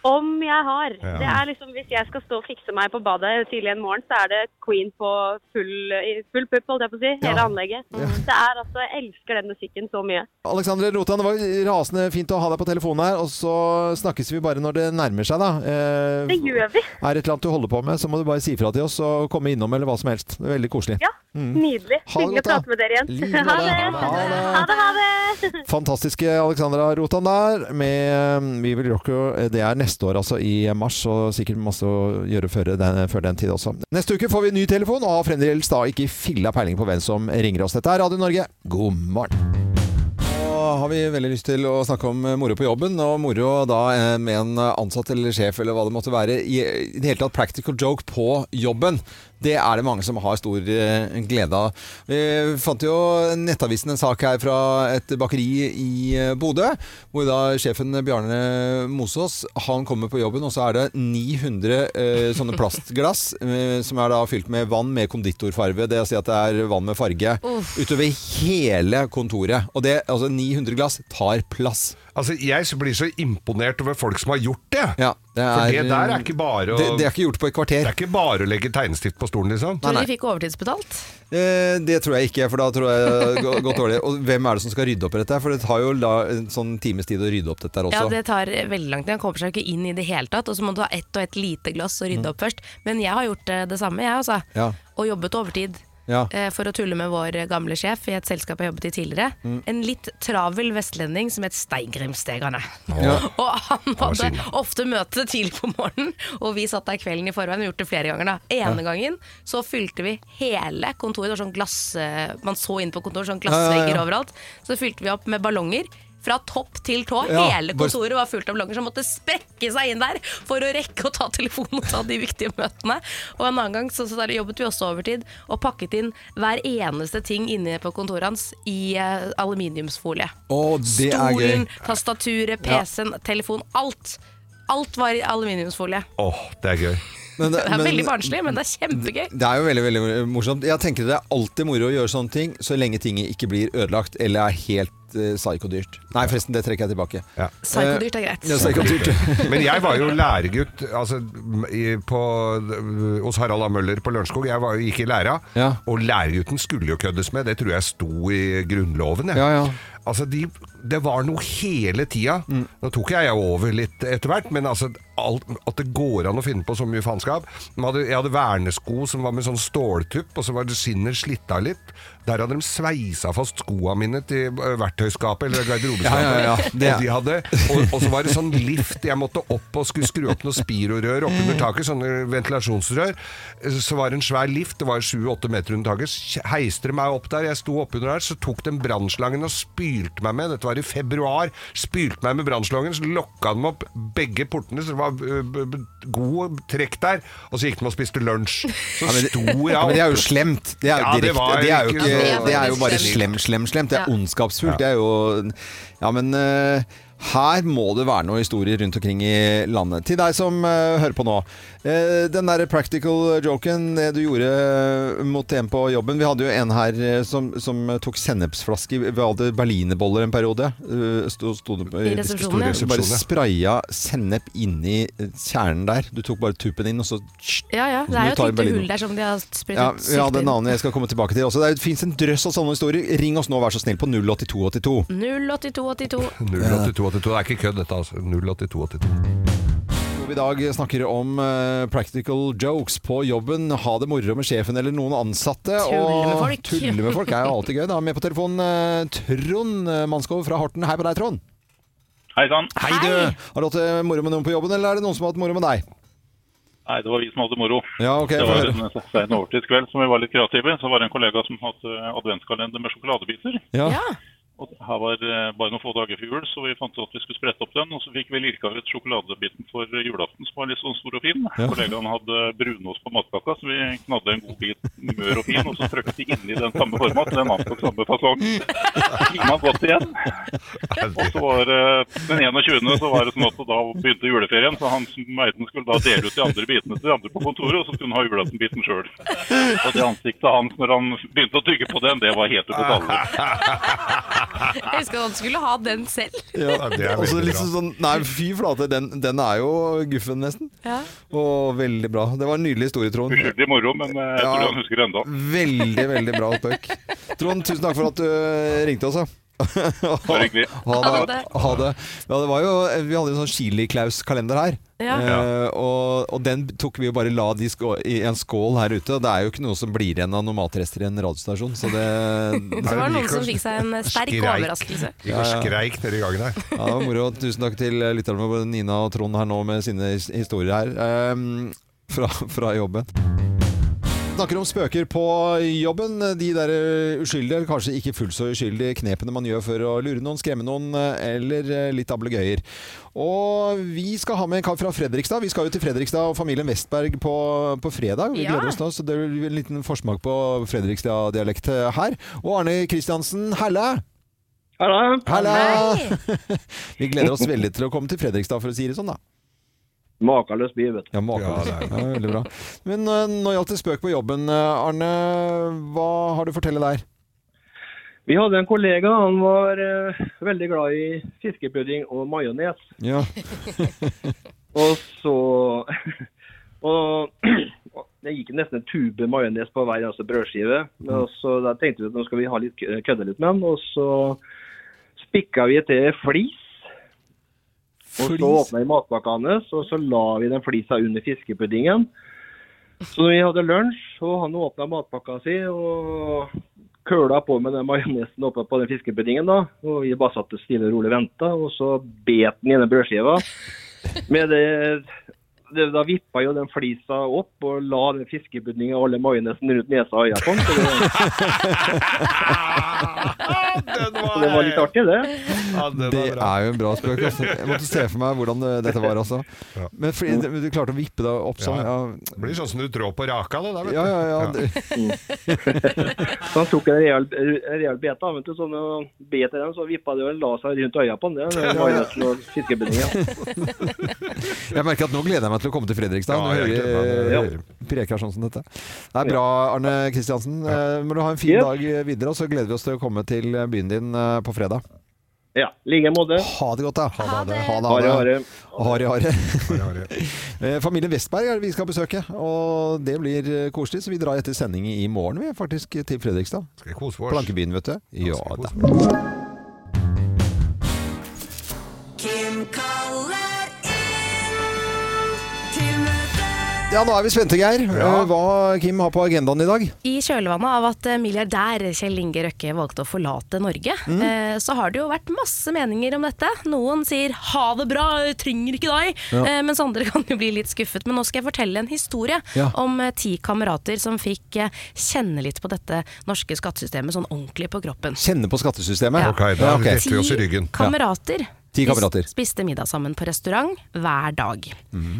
Om jeg har. Ja. Det er liksom, Hvis jeg skal stå og fikse meg på badet tidlig en morgen, så er det Queen på full, i full pupp, holdt jeg på å si. Hele Ja. anlegget. Det er altså, Jeg elsker den musikken så mye. Alexandre Rotan, det var rasende fint å ha deg på telefonen her, og så snakkes vi bare når det nærmer seg, da. Eh, Det gjør vi. Er det et eller annet du holder på med, så må du bare si fra til oss og komme innom eller hva som helst. Det er veldig koselig. Ja, Nydelig. Mm. Ha det Hyggelig å godt, da. prate med dere igjen. Like Ha måte. det. Ha det. Ha det, ha det. Fantastiske Alexandra Rotan der med eh, Vi vil rocke. eh, Det er neste år, altså, i mars. Og sikkert masse å gjøre før den, før den tid også. Neste uke får vi ny telefon, og har fremdeles da ikke filla peiling på hvem som ringer oss. Dette er Radio Norge. God morgen. Nå har vi veldig lyst til å snakke om eh, moro på jobben, og moro da eh, med en ansatt eller sjef eller hva det måtte være. I i det hele tatt practical joke på jobben. Det er det mange som har stor eh, glede av. Vi fant jo Nettavisen en sak her fra et bakeri i eh, Bodø, hvor da sjefen Bjarne Mosås han kommer på jobben, og så er det 900 eh, sånne plastglass eh, som er da fylt med vann med konditorfarve. Det vil si at det er vann med farge Uff. utover hele kontoret. Og det, altså 900 glass tar plass. altså, jeg blir så imponert over folk som har gjort det. Ja, det For er- det der er ikke bare å Det- det er ikke gjort på et kvarter. Det er ikke bare å legge tegnestift på stolen, liksom. Tror du de fikk overtidsbetalt? Eh, det tror jeg ikke, for da tror jeg det går- går dårlig. Og hvem er det som skal rydde opp i dette? her? For det tar jo la, en sånn times tid å rydde opp dette her også. Ja, det tar veldig lang tid. Han kommer seg ikke inn i det hele tatt. Og så må du ha ett og ett lite glass og rydde opp først. Men jeg har gjort eh, det samme, jeg altså. Mm. Ja. Og jobbet overtid. Ja. eh, For å tulle med vår gamle sjef i et selskap jeg jobbet i tidligere. Mm. En litt travel vestlending som het Steingrimstegane. Ja. Og han var hadde synd. ofte møte tidlig på morgenen, og vi satt der kvelden i forveien og gjort det flere ganger. da. Ene Ja. gangen så fylte vi hele kontoret, det var sånn glass, eh, man så inn på kontoret, sånn Ja, glassvegger ja, ja. overalt. Så fylte vi opp med ballonger. Fra topp til tå. Ja, Hele bare- kontoret var fullt av ballonger som måtte sprekke seg inn der for å rekke å ta telefonen og ta de viktige møtene. Og en annen gang så, så der jobbet vi også overtid og pakket inn hver eneste ting inne på kontoret hans i eh, aluminiumsfolie. Å, det er Stolen, gøy. tastaturet, Ja. PC-en, telefon, alt. Alt var i aluminiumsfolie. Åh, det er gøy. Men Det er men- Eh, veldig barnslig, men det er kjempegøy. Det er jo veldig, veldig morsomt. Jeg tenker det er alltid moro å gjøre sånne ting, så lenge ting ikke blir ødelagt eller er helt eh, psykodyrt. Nei, forresten, det trekker jeg tilbake. Psykodyrt er greit. Eh, Ja, psykodyrt. Men jeg var jo læregutt altså, i, på, hos Harald A. Møller på Lørenskog. Jeg var, gikk i læra, og læregutten skulle jo køddes med. Det tror jeg sto i Grunnloven. jeg. Altså, de, det var noe hele tida. Mm. Nå tok jeg over litt etter hvert, men altså, alt, at det går an å finne på så mye faenskap. De hadde- Jeg hadde vernesko som var med sånn ståltupp, og så var det skinnet slitt av litt. Der hadde de sveisa fast skoa mine til eh, verktøyskapet eller Ja, garderobeskapet. ja, ja. Det- Og de hadde og, og så var det sånn lift jeg måtte opp og skulle skru opp noen spirorør oppunder taket, sånne ventilasjonsrør. Så var det en svær lift, det var 7-8 meter under taket. Så Heiste de meg opp der, jeg sto oppunder der, så tok de brannslangen og spylte meg med. Dette var i februar. Spylte meg med brannslangen, så lokka de opp begge portene, så det var ø, b- b- god trekk der. Og så gikk de og spiste lunsj. Så sto jeg ja, men det er jo oppe. slemt. Det er jo, Ja, det direkte. var det er jo, ikke ikke, så- det er jo bare Slemt. slem, slem, slemt. Det er Ja. ondskapsfullt. Det er jo Ja, men eh, Her må det være noen historier rundt omkring i landet. Til deg som eh, hører på nå. Eh, den der practical joken eh, du gjorde eh, mot en på jobben Vi hadde jo en her eh, som, som tok sennepsflaske Vi hadde berlinerboller en periode. Eh, sto, sto, det på- I resepsjonen, ja. Så Bare spraya sennep inni eh, kjernen der. Du tok bare tuppen inn, og så Ja, ja. Det Du er jo et tar en lite Berliner. hull der som de har ja, sprutet vi hadde sykt en annen jeg skal komme tilbake til også. Det fins en drøss av sånne historier. Ring oss nå, vær så snill, på 08282. inn. 08282. 08282. Det er ikke kødd, dette, altså. 08282. Hvor vi i dag snakker om eh, practical jokes på jobben. Ha det moro med sjefen eller noen ansatte. Tulle med og- folk. Tulle med folk er jo alltid gøy. Da med på telefonen eh, Trond eh, Mannskov fra Horten. Hei på deg, Trond. Hei sann. Hei, du. Har du hatt det moro med noen på jobben, eller er det noen som har hatt moro med deg? Nei, det var vi som hadde moro. Ja, ok, det få var høre. en sen overtidskveld som vi var litt kreative. Så var det en kollega som hadde eh, adventskalender med sjokoladebiter. Ja. Og her var eh, bare noen få dager før jul, så vi fant ut at vi skulle sprette opp den. Og så fikk vi lirka ut sjokoladebiten for julaften, som var litt sånn stor og fin. Ja. Kollegaen hadde brunost på matkaka, så vi knadde en god bit mør og fin. Og så trykte de inni den samme format, den andre på samme fasong. Kima godt igjen. Og så var det den 21. så var det sånn at da begynte juleferien, så han som eide den skulle da dele ut de andre bitene til de andre på kontoret, og så skulle han ha julaftenbiten sjøl. Og det ansiktet hans når han begynte å tygge på den, det var helt ubetalelig. Jeg husker at han skulle ha den selv. Og så liksom sånn, nei, fy flate, den, den er jo guffen, nesten. Ja. Og veldig bra. Det var en nydelig historie, Trond. Uskyldig moro, men eh, jeg tror Ja. Mm. han husker det ennå. Veldig, veldig bra spøk. Trond, tusen takk for at du eh, ringte oss. da. Bare hyggelig. Ha det. Ha det. Ja, det var jo, vi hadde en sånn Chili-Klaus-kalender her. Ja. Eh, og, og den tok vi jo bare la de skå, i en skål her ute. Og det er jo ikke noe som blir igjen av noen matrester i en radiostasjon. Så det, Så var det noen som fikk seg en sterk Skreik. overraskelse. Gikk og skreik nede i gangen her. Ja, det var moro. Tusen takk til eh, lytterne våre, Nina og Trond her nå med sine his- historier her ehm, fra, fra jobben. Snakker om spøker på jobben. De der eh, uskyldige, eller kanskje ikke fullt så uskyldige knepene man gjør for å lure noen, skremme noen, eh, eller eh, litt ablegøyer. Og vi skal ha med en kar fra Fredrikstad. Vi skal jo til Fredrikstad og familien Westberg på, på fredag. Vi Ja. gleder oss nå, så det blir en liten forsmak på Fredrikstad-dialekt eh, her. Og Arne Kristiansen, helle! Hallo. Vi gleder oss veldig til å komme til Fredrikstad, for å si det sånn, da. Makeløs by, vet du. Ja, makeløs. Ja, veldig bra. Men uh, nå gjaldt det spøk på jobben. eh, Arne, hva har du å fortelle der? Vi hadde en kollega, han var eh, veldig glad i fiskepudding og majones. Ja. Og så og, og det gikk nesten en tube majones på hver eneste brødskive. Men også, da tenkte vi at nå skal vi ha litt, kø- kødde litt med han, og så spikka vi til flis. Og så Flis? åpna vi matpakka hans, og så la vi den flisa under fiskepuddingen. Så vi hadde lunsj, og han åpna matpakka si og køla på med den majonesen oppe på den fiskepuddingen. da, Og vi bare satt stille og rolig og venta, og så bet den i den brødskiva. Med det, det, da vippa jo den flisa opp og la den fiskepuddingen og alle majonesen rundt nesa og øya på den. så Det, så det var litt artig, det. det er jo en bra spøk. Altså. Jeg måtte se for meg hvordan eh, dette var, altså. Men fordi, du klarte å vippe deg opp sånn? Ja, Det blir sånn som du trår på raka, det der, vet ja, ja. ja, du. det- Så han tok en real, en real beta, vet du, sånn, og bet i den, så vippa det og la seg rundt øya på den. Det var majonesen og fiskebindingen. Jeg merker at nå gleder jeg meg til å komme til Fredrikstad. Ja, Når jeg jeg hører gleder meg. eh, preker sånn som dette. Det er bra, Arne Kristiansen. Eh, Må du ha en fin Yep. dag videre, og så gleder vi oss til å komme til byen din eh, på fredag. Ja, i like måte. Ha det godt, da. Ha det. Ha det. Hare, hare. Hare, hare. Eh, Familien Vestberg er det vi skal besøke, og det blir eh, koselig. Så vi drar etter sending i morgen, vi, faktisk, til Fredrikstad. Skal jeg kose oss? Plankebyen, vet du. Ja da. Kim kaller inn til møte. Ja, nå er vi spente, Geir. Ja. Eh, Hva Kim har på agendaen i dag? I kjølvannet av at eh, milliardær Kjell Inge Røkke valgte å forlate Norge, eh, så har det jo vært masse meninger om dette. Noen sier 'ha det bra, jeg trenger ikke deg', Ja. eh, mens andre kan jo bli litt skuffet. Men nå skal jeg fortelle en historie Ja. om eh, ti kamerater som fikk eh, kjenne litt på dette norske skattesystemet sånn ordentlig på kroppen. Kjenne på skattesystemet. Ja. Ok, da retter vi oss i ryggen. Ti kamerater, Ti spis- kamerater. spiste middag sammen på restaurant hver dag.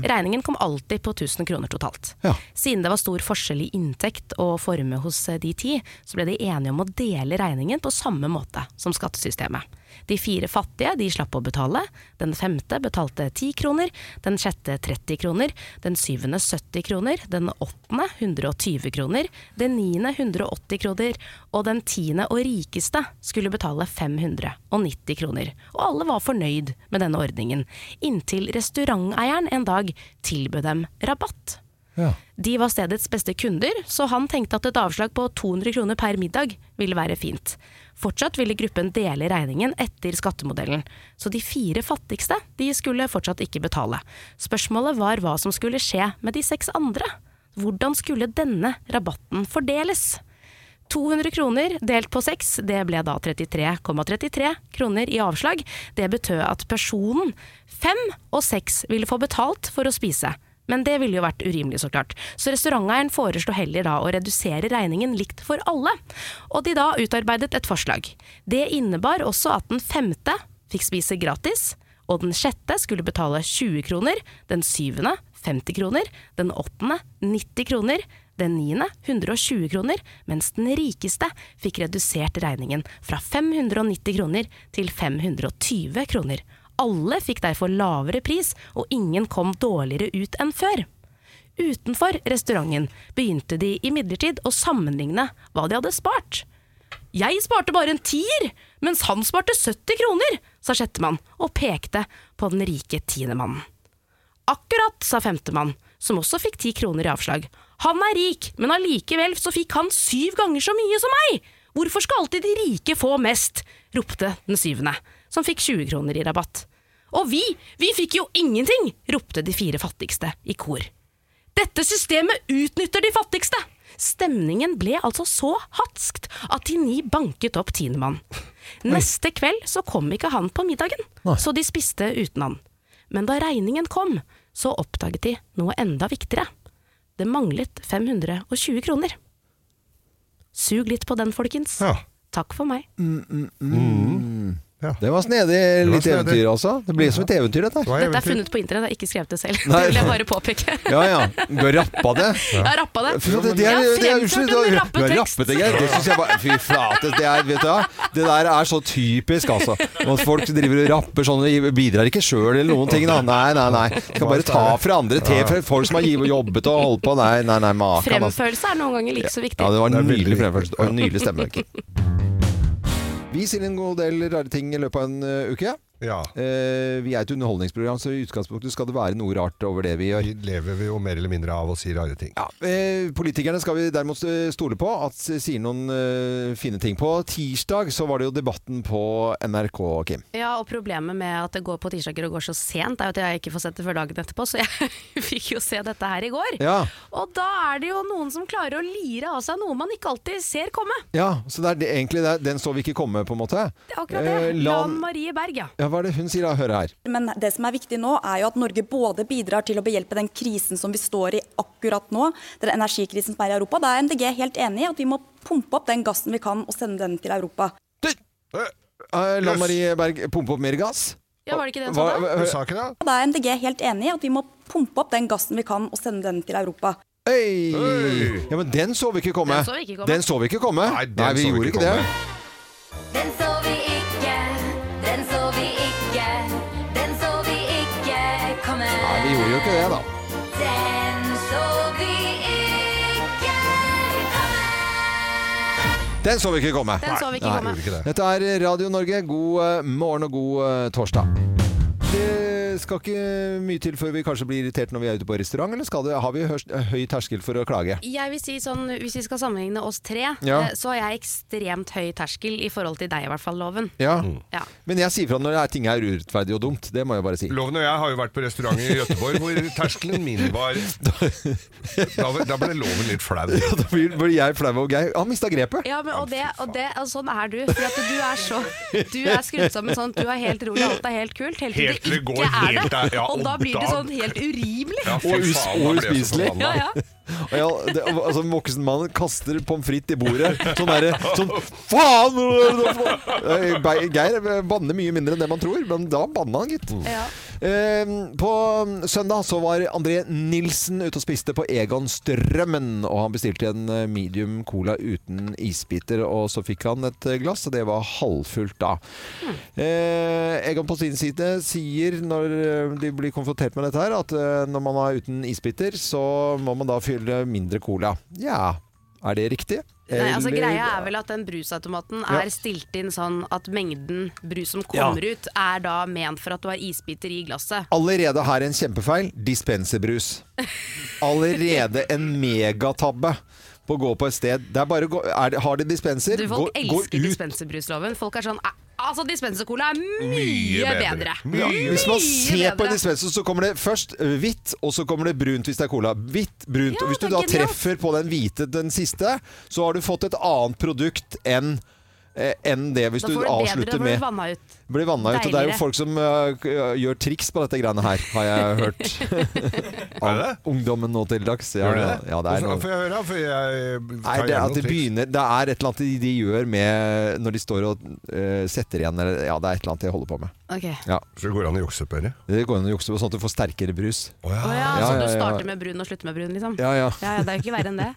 Regningen kom alltid på 1000 kroner totalt. Siden det var stor forskjell i inntekt og formue hos eh, de ti, så ble de enige om å dele regningen på samme måte som skattesystemet. De fire fattige de slapp å betale. Den femte betalte 10 kroner, den sjette 30 kroner, den syvende 70 kroner, den åttende 120 kroner, den niende 180 kroner, og den tiende og rikeste skulle betale 590 kroner. Og alle var fornøyd med denne ordningen, inntil restauranteieren en dag tilbød dem rabatt. Ja. De var stedets beste kunder, så han tenkte at et avslag på 200 kroner per middag ville være fint. Fortsatt ville gruppen dele regningen etter skattemodellen, så de fire fattigste de skulle fortsatt ikke betale. Spørsmålet var hva som skulle skje med de seks andre. Hvordan skulle denne rabatten fordeles? 200 kroner delt på 6, det ble da 33,33 kroner i avslag. Det betød at personen 5 og 6 ville få betalt for å spise. Men det ville jo vært urimelig, så klart. Så restauranteieren foreslo heller da å redusere regningen likt for alle. Og de da utarbeidet et forslag. Det innebar også at den femte fikk spise gratis, og den sjette skulle betale 20 kroner, den syvende 50 kroner, den åttende 90 kroner, den niende 120 kroner, mens den rikeste fikk redusert regningen fra 590 kroner til 520 kroner. Alle fikk derfor lavere pris, og ingen kom dårligere ut enn før. Utenfor restauranten begynte de imidlertid å sammenligne hva de hadde spart. Jeg sparte bare en tier, mens han sparte 70 kroner, sa sjettemann og pekte på den rike tiendemannen. Akkurat, sa femtemann, som også fikk ti kroner i avslag. Han er rik, men allikevel så fikk han syv ganger så mye som meg! Hvorfor skal alltid de rike få mest? ropte den syvende, som fikk 20 kroner i rabatt. Og vi, vi fikk jo ingenting! ropte de fire fattigste i kor. Dette systemet utnytter de fattigste! Stemningen ble altså så hatskt at de ni banket opp tiendemann. Neste kveld så kom ikke han på middagen, så de spiste uten han. Men da regningen kom, så oppdaget de noe enda viktigere. Det manglet 520 kroner. Sug litt på den, folkens. Takk for meg. Det var snedig litt snedig. eventyr, altså. Det blir som et eventyr, dette. Dette er funnet på internett, jeg har ikke skrevet det selv. Nei. Det vil jeg bare påpeke. Ja, ja. Du har rappa det. Jeg har rappa det. Fy, det, det er, jeg det er, har unnskyld, fremført du en har, du har rappetekst. rappet det, Geir. Det syns jeg bare Fy flate. Det, er, vet du, hva? det der er så typisk, altså. At folk driver og rapper sånn og bidrar ikke sjøl eller noen ting. Da. Nei, nei, nei. De Skal bare ta fra andre. Te fra folk som har giv- jobbet og holdt på. Nei, nei, nei. Makan. altså. Fremførelse er noen ganger like så viktig. Ja, det var en nydelig fremførelse. Og en nydelig stemme. Vi sier en god del rare ting i løpet av en ø, uke. Eh, vi er et underholdningsprogram, så i utgangspunktet skal det være noe rart over det vi gjør. Vi lever vi jo mer eller mindre av å si rare ting. Eh, Politikerne skal vi derimot eh, stole på at s- sier noen eh, fine ting. På tirsdag så var det jo debatten på NRK, Kim. Ja, og problemet med at det går på tirsdager og går så sent, er jo at jeg ikke får sett det før dagen etterpå, så jeg fikk jo se dette her i går. Ja. Og da er det jo noen som klarer å lire av seg noe man ikke alltid ser komme. Ja, så det er det, egentlig det, er- den så vi ikke komme, på en måte. Det er akkurat det. Eh, Lan Marie Berg, ja. ja, hva er det hun sier da? Hør her. Men det som er viktig nå, er jo at Norge både bidrar til å behjelpe den krisen som vi står i akkurat nå, den energikrisen som er i Europa. Da er MDG helt enig i at vi må pumpe opp den gassen vi kan og sende den til Europa. Eh, Lan Marie Berg, pumpe opp mer gass? Ja, var det ikke det hun Hva- sa da? hva- Hun sa Og Da er MDG helt enig i at vi må pumpe opp den gassen vi kan og sende den til Europa. Hei! Ja, men den så vi ikke komme. Den så vi ikke komme. Den så vi ikke komme. Nei, vi så vi gjorde ikke ikke det. Den så vi ikke, den så vi ikke, den så vi ikke komme. Nei, vi gjorde jo ikke det, da. Den så vi ikke komme. Den så vi ikke komme. Den så vi ikke komme. Gjorde ikke det. Dette er Radio Norge. God eh, morgen og god eh, torsdag. Det skal ikke mye til før vi kanskje blir irritert når vi er ute på restaurant, eller skal det, har vi hørs- høy terskel for å klage? Jeg vil si sånn, Hvis vi skal sammenligne oss tre, Ja. eh, så har jeg ekstremt høy terskel i forhold til deg, i hvert fall, Loven. Ja. Ja. Mm. Men jeg sier fra når det er ting er urettferdig og dumt. Det må jeg bare si. Loven og jeg har jo vært på restaurant i Gøteborg hvor terskelen min var Da, da ble loven litt flau. Ja, da blir, blir jeg flau og Geir Han mista grepet. Ja, men, og, det, og, det, og sånn er du. For at du er så Du er skrudd sammen sånn at du er helt rolig, alt er helt kult. Helt til Helt det til det går ikke er helt det. der, ja, og da og blir det da- sånn helt urin urimelig! Ja, fy og, us faen, da og ble jeg så uspiselig. forbanna. Ja, ja. Og jeg- det, altså, en voksen mann kaster pommes frites i bordet. Sånn derre sånn, Faen! Eh, Be- Geir banner mye mindre enn det man tror, men da banna han, Mm. gitt. Eh, På søndag så var André Nilsen ute og spiste på Egon Strømmen. Og han bestilte en eh, medium cola uten isbiter, og så fikk han et eh, glass, og det var halvfullt da. Hmm. Eh, Egon på sin side sier når eh, de blir konfrontert med dette her, at eh, når man er uten isbiter, så må man da fylle mindre cola. Ja, er det riktig? Nei, altså Eller- Greia er vel at den brusautomaten Ja. er stilt inn sånn at mengden brus som kommer Ja. ut, er da ment for at du har isbiter i glasset. Allerede her en kjempefeil. Dispenserbrus. Allerede en megatabbe på å gå på et sted. Det er bare å gå, er det, har de dispenser, Du, gå, folk gå elsker ut. dispenserbrusloven. Folk er sånn "Ah, Altså, dispensercola er mye, bedre. Ja, hvis man ser på en bedre. dispenser, så kommer det først eh, hvitt, og så kommer det brunt hvis det er cola. Hvitt, brunt. og hvis du det da er genialt. treffer på den hvite, den siste, så har du fått et annet produkt enn eh, enn det hvis Da du får du bedre, da avslutter blir du med vanna ut. Blir vanna ut. Og det er jo Deiligere. folk som eh, k- gjør triks på dette greiene her, har jeg hørt. Av ungdommen nå til dags. Ja, Gjør det ja, det? ja, det er Hvordan- noe. Får jeg høre, da? For jeg Nei, det, er at det, begynner, det er et eller annet de, de gjør med Når de står og eh, setter igjen eller, Ja, det er et eller annet de holder på med. Ok. Ja. Så det går an å jukse på det? Det går an å jukse på sånn at du får sterkere brus. Å ja, så du starter med brun og slutter med brun, liksom? Ja, ja. ja, Det er jo ikke verre enn det.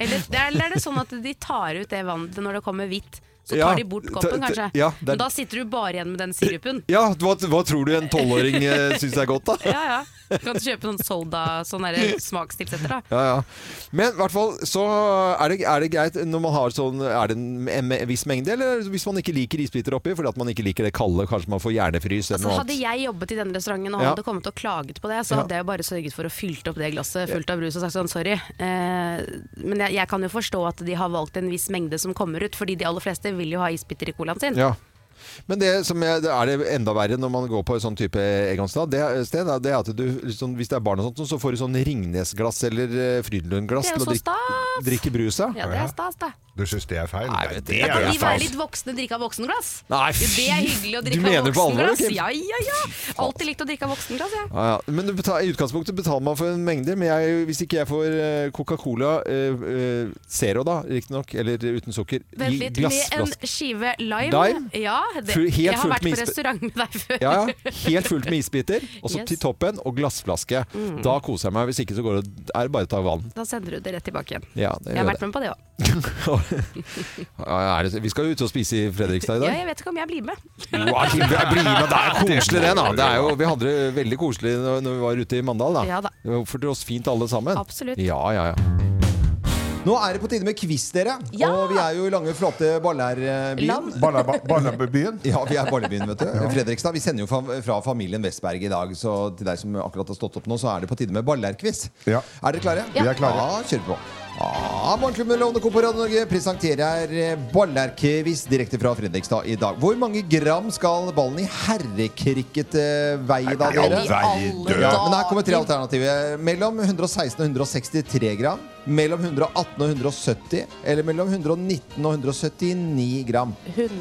Eller, eller er det sånn at de tar ut det vannet når det kommer hvitt? Så Ja, tar de bort ta- koppen, ta- kanskje? ja, det er- Men da sitter du bare igjen med den sirupen? Ja, hva, hva tror du en tolvåring uh, syns er godt, da? Ja, ja. Du kan kjøpe sånn soda, sånn derre smakstilsetter, da. Ja, ja. Men i hvert fall så er det, er det greit når man har sånn Er det en, en viss mengde, eller hvis man ikke liker isbiter oppi fordi at man ikke liker det kalde, kanskje man får hjernefrys eller Så noe Altså, hadde annet. jeg jobbet i denne restauranten og Ja. hadde kommet og klaget på det, så Ja. hadde jeg jo bare sørget for å fylt opp det glasset fullt av brus og sagt sånn sorry. Eh, men jeg, jeg kan jo forstå at de har valgt en viss mengde som kommer ut, fordi de aller fleste vil jo ha isbiter i colaen sin. Ja. Men det som er, det er det enda verre når man går på et sånn type egansted, det, sted, er- det er at du, liksom, hvis det er barn og sånt, så får du sånn Ringnes-glass eller eh, Frydenlund-glass Det er til å jo så drikke, stas! drikke brus av. Ja, det er stas, da. Du syns det er feil? Nei, det, det Da er kan jo vi være feil. litt voksne og drikke av voksenglass. Nei, Jo, det er hyggelig å Du drikke av mener på alvor, voksenglass. Kim? Ja, ja, ja. Alltid likt å drikke av voksenglass, jeg. Ja, ja. Men du betal, I utgangspunktet betaler man for en mengde, men jeg, hvis ikke jeg får eh, Coca-Cola eh, eh, Zero, da, riktignok, eller uten sukker, Vent i litt, med en glassflaske skive lime. Lime? Ja, det, Full- helt jeg har fullt med vært på isbit- restaurant med deg før. ja, ja. Helt fullt med isbiter, og så Yes. til toppen, og glassflaske. Mm. Da koser jeg meg. Hvis ikke så går det, er det bare å ta vann. Da sender du det rett tilbake igjen. Ja, det Jeg har gjør vært med på det òg. Ja, er det, vi skal jo ut og spise i Fredrikstad i Ja, dag. jeg vet ikke om jeg blir med. Jo, Kim, jeg blir med. Det er jo koselig, det. da det er jo, Vi hadde det veldig koselig når når vi var ute i Mandal. da, Ja, da. Det oppførte oss fint alle sammen. Absolutt. Ja, ja, ja. Nå er det på tide med quiz, dere. Og vi er jo i lange, flate Ballerbyen. Land. Ballerbyen? Ja, vi er Ballerbyen, vet du. Fredrikstad. Vi sender jo fra, fra familien Vestberg i dag, så til deg som akkurat har stått opp nå, så er det på tide med ballerquiz. Er dere klare? Ja. Vi er klare. Ja, kjør på. Ja, Morgenklubben Lovende Co. på Radio Norge presenterer eh, ballerquiz direkte fra Fredrikstad i dag. Hvor mange gram skal ballen i herrekricket eh, veie, da, Nei, men i dere? all verden. Ja, men her kommer tre alternativer. Mellom 116 og 163 gram. Mellom 118 og 170. Eller mellom 119 og 179 gram.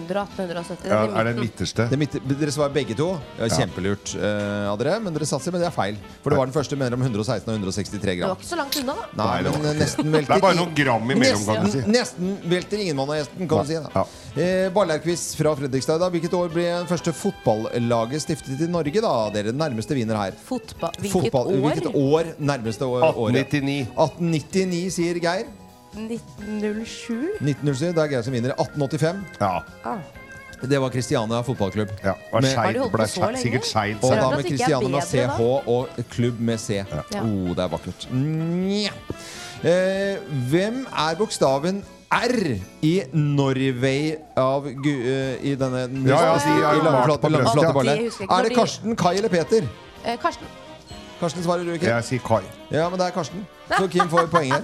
118-170. er det midterste? Det midt- dere svarer begge to. Det var Ja. Kjempelurt eh, av dere, men dere satser, men det er feil. For det var den første mellom 116 og 163 Du gram. var ikke så langt unna, da. Nei, det var men ikke nesten det. velter Det er bare i- noen gram imellom, kan du si. Nesten, nesten velter ingen mann av gjesten, kan du si. Da. Eh, Ballerquiz fra Fredrikstad. i dag. Hvilket år ble den første fotballaget stiftet i Norge? da? Dere nærmeste vinner her. Fotball. Fotball- Hvilket år? Nærmeste år, 1899. året. 1899, sier Geir. 1907? 1907, det er Geir som vinner. 1885. Ah. Det var Kristiania fotballklubb. Ja, var skeit, Har de holdt på ble så skeit- lenge? sikkert skeit, Og så- da Rart at med det ikke er Kristiania med bedre, da. CH og klubb med C. Ja. Oh, det er vakkert. Nja. Eh, hvem er bokstaven R i Norway av Gu... eh, I denne Ja, ja, de er i jo langflate, malt på brøstet, ja. langflate baller. De husker ikke når Er det de- Karsten, Kai eller Peter? Eh, Karsten. Karsten svarer du ikke? Jeg sier Kai. Ja, men det er Karsten. Så Kim får poenget.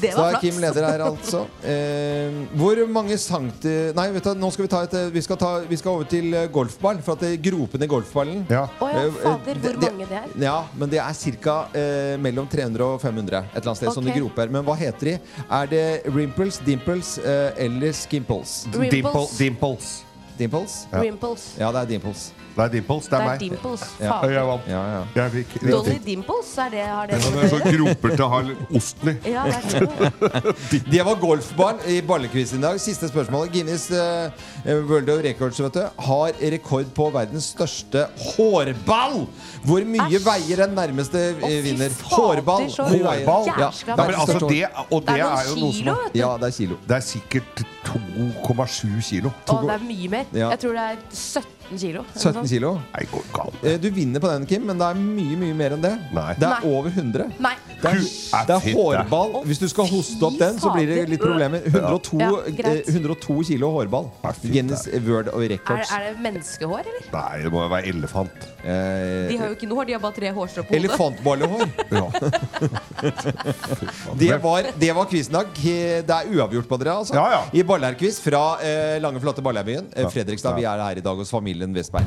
Det Så var er flaks. Kim leder her, altså. Eh, hvor mange sankti... Nei, vet du, nå skal vi ta et eh, Vi skal, ta, vi skal over til eh, golfball, for at det er gropen i golfballen Å ja, Eh, eh, fader, hvor mange det er? Ja, men det er ca. Eh, mellom 300 og 500. Et eller annet sted. Sånne Ok. groper. Men hva heter de? Er det rimples, dimples eh, eller skimples? Dimple- Rimples. dimples. Dimples? Ja. Rimples. Ja, det er Dimples. Det er Dimples, Det er meg. Dimples, Ja. faen. Jeg vant. Jeg fikk riktig. Dolly Dimples, er det, har det Det er så groper til å ha litt osten i. Ja, det er De var golfbarn i ballekvisten i dag. Siste spørsmål. Guinness eh, World of Records vet du, har rekord på verdens største hårball! Hvor mye veier den nærmeste eh, vinner? Hårball! så Hvor mye veier- Hårball? Ja, Ja, men altså det, og det, er, jo noe som Ja, det er kilo. Det er sikkert 2,7 kilo. Å, det er mye mer. Ja. Jeg tror det er sånn. 17 kilo. eller noe 17 sånt. kilo. Eh, Du vinner på den, Kim, men det er mye mye mer enn det. Det er Nei. over 100. Nei. Det er, det er fitte. hårball. Hvis du skal hoste opp den, så blir det litt problemer. 102, Ja, eh, greit. 102 kilo hårball. Guinness World of Er, Records. er det menneskehår, eller? Nei, det må jo være elefant. eh, De har jo ikke noe hår, de har bare tre hårstrå på hodet. Elefantballehår. det var, det var quizen i dag. Det er uavgjort på dere, altså. I Ballerquiz fra eh, lange, flate Ballærbyen. Eh, Fredrikstad. Vi er her i dag hos familien Westberg.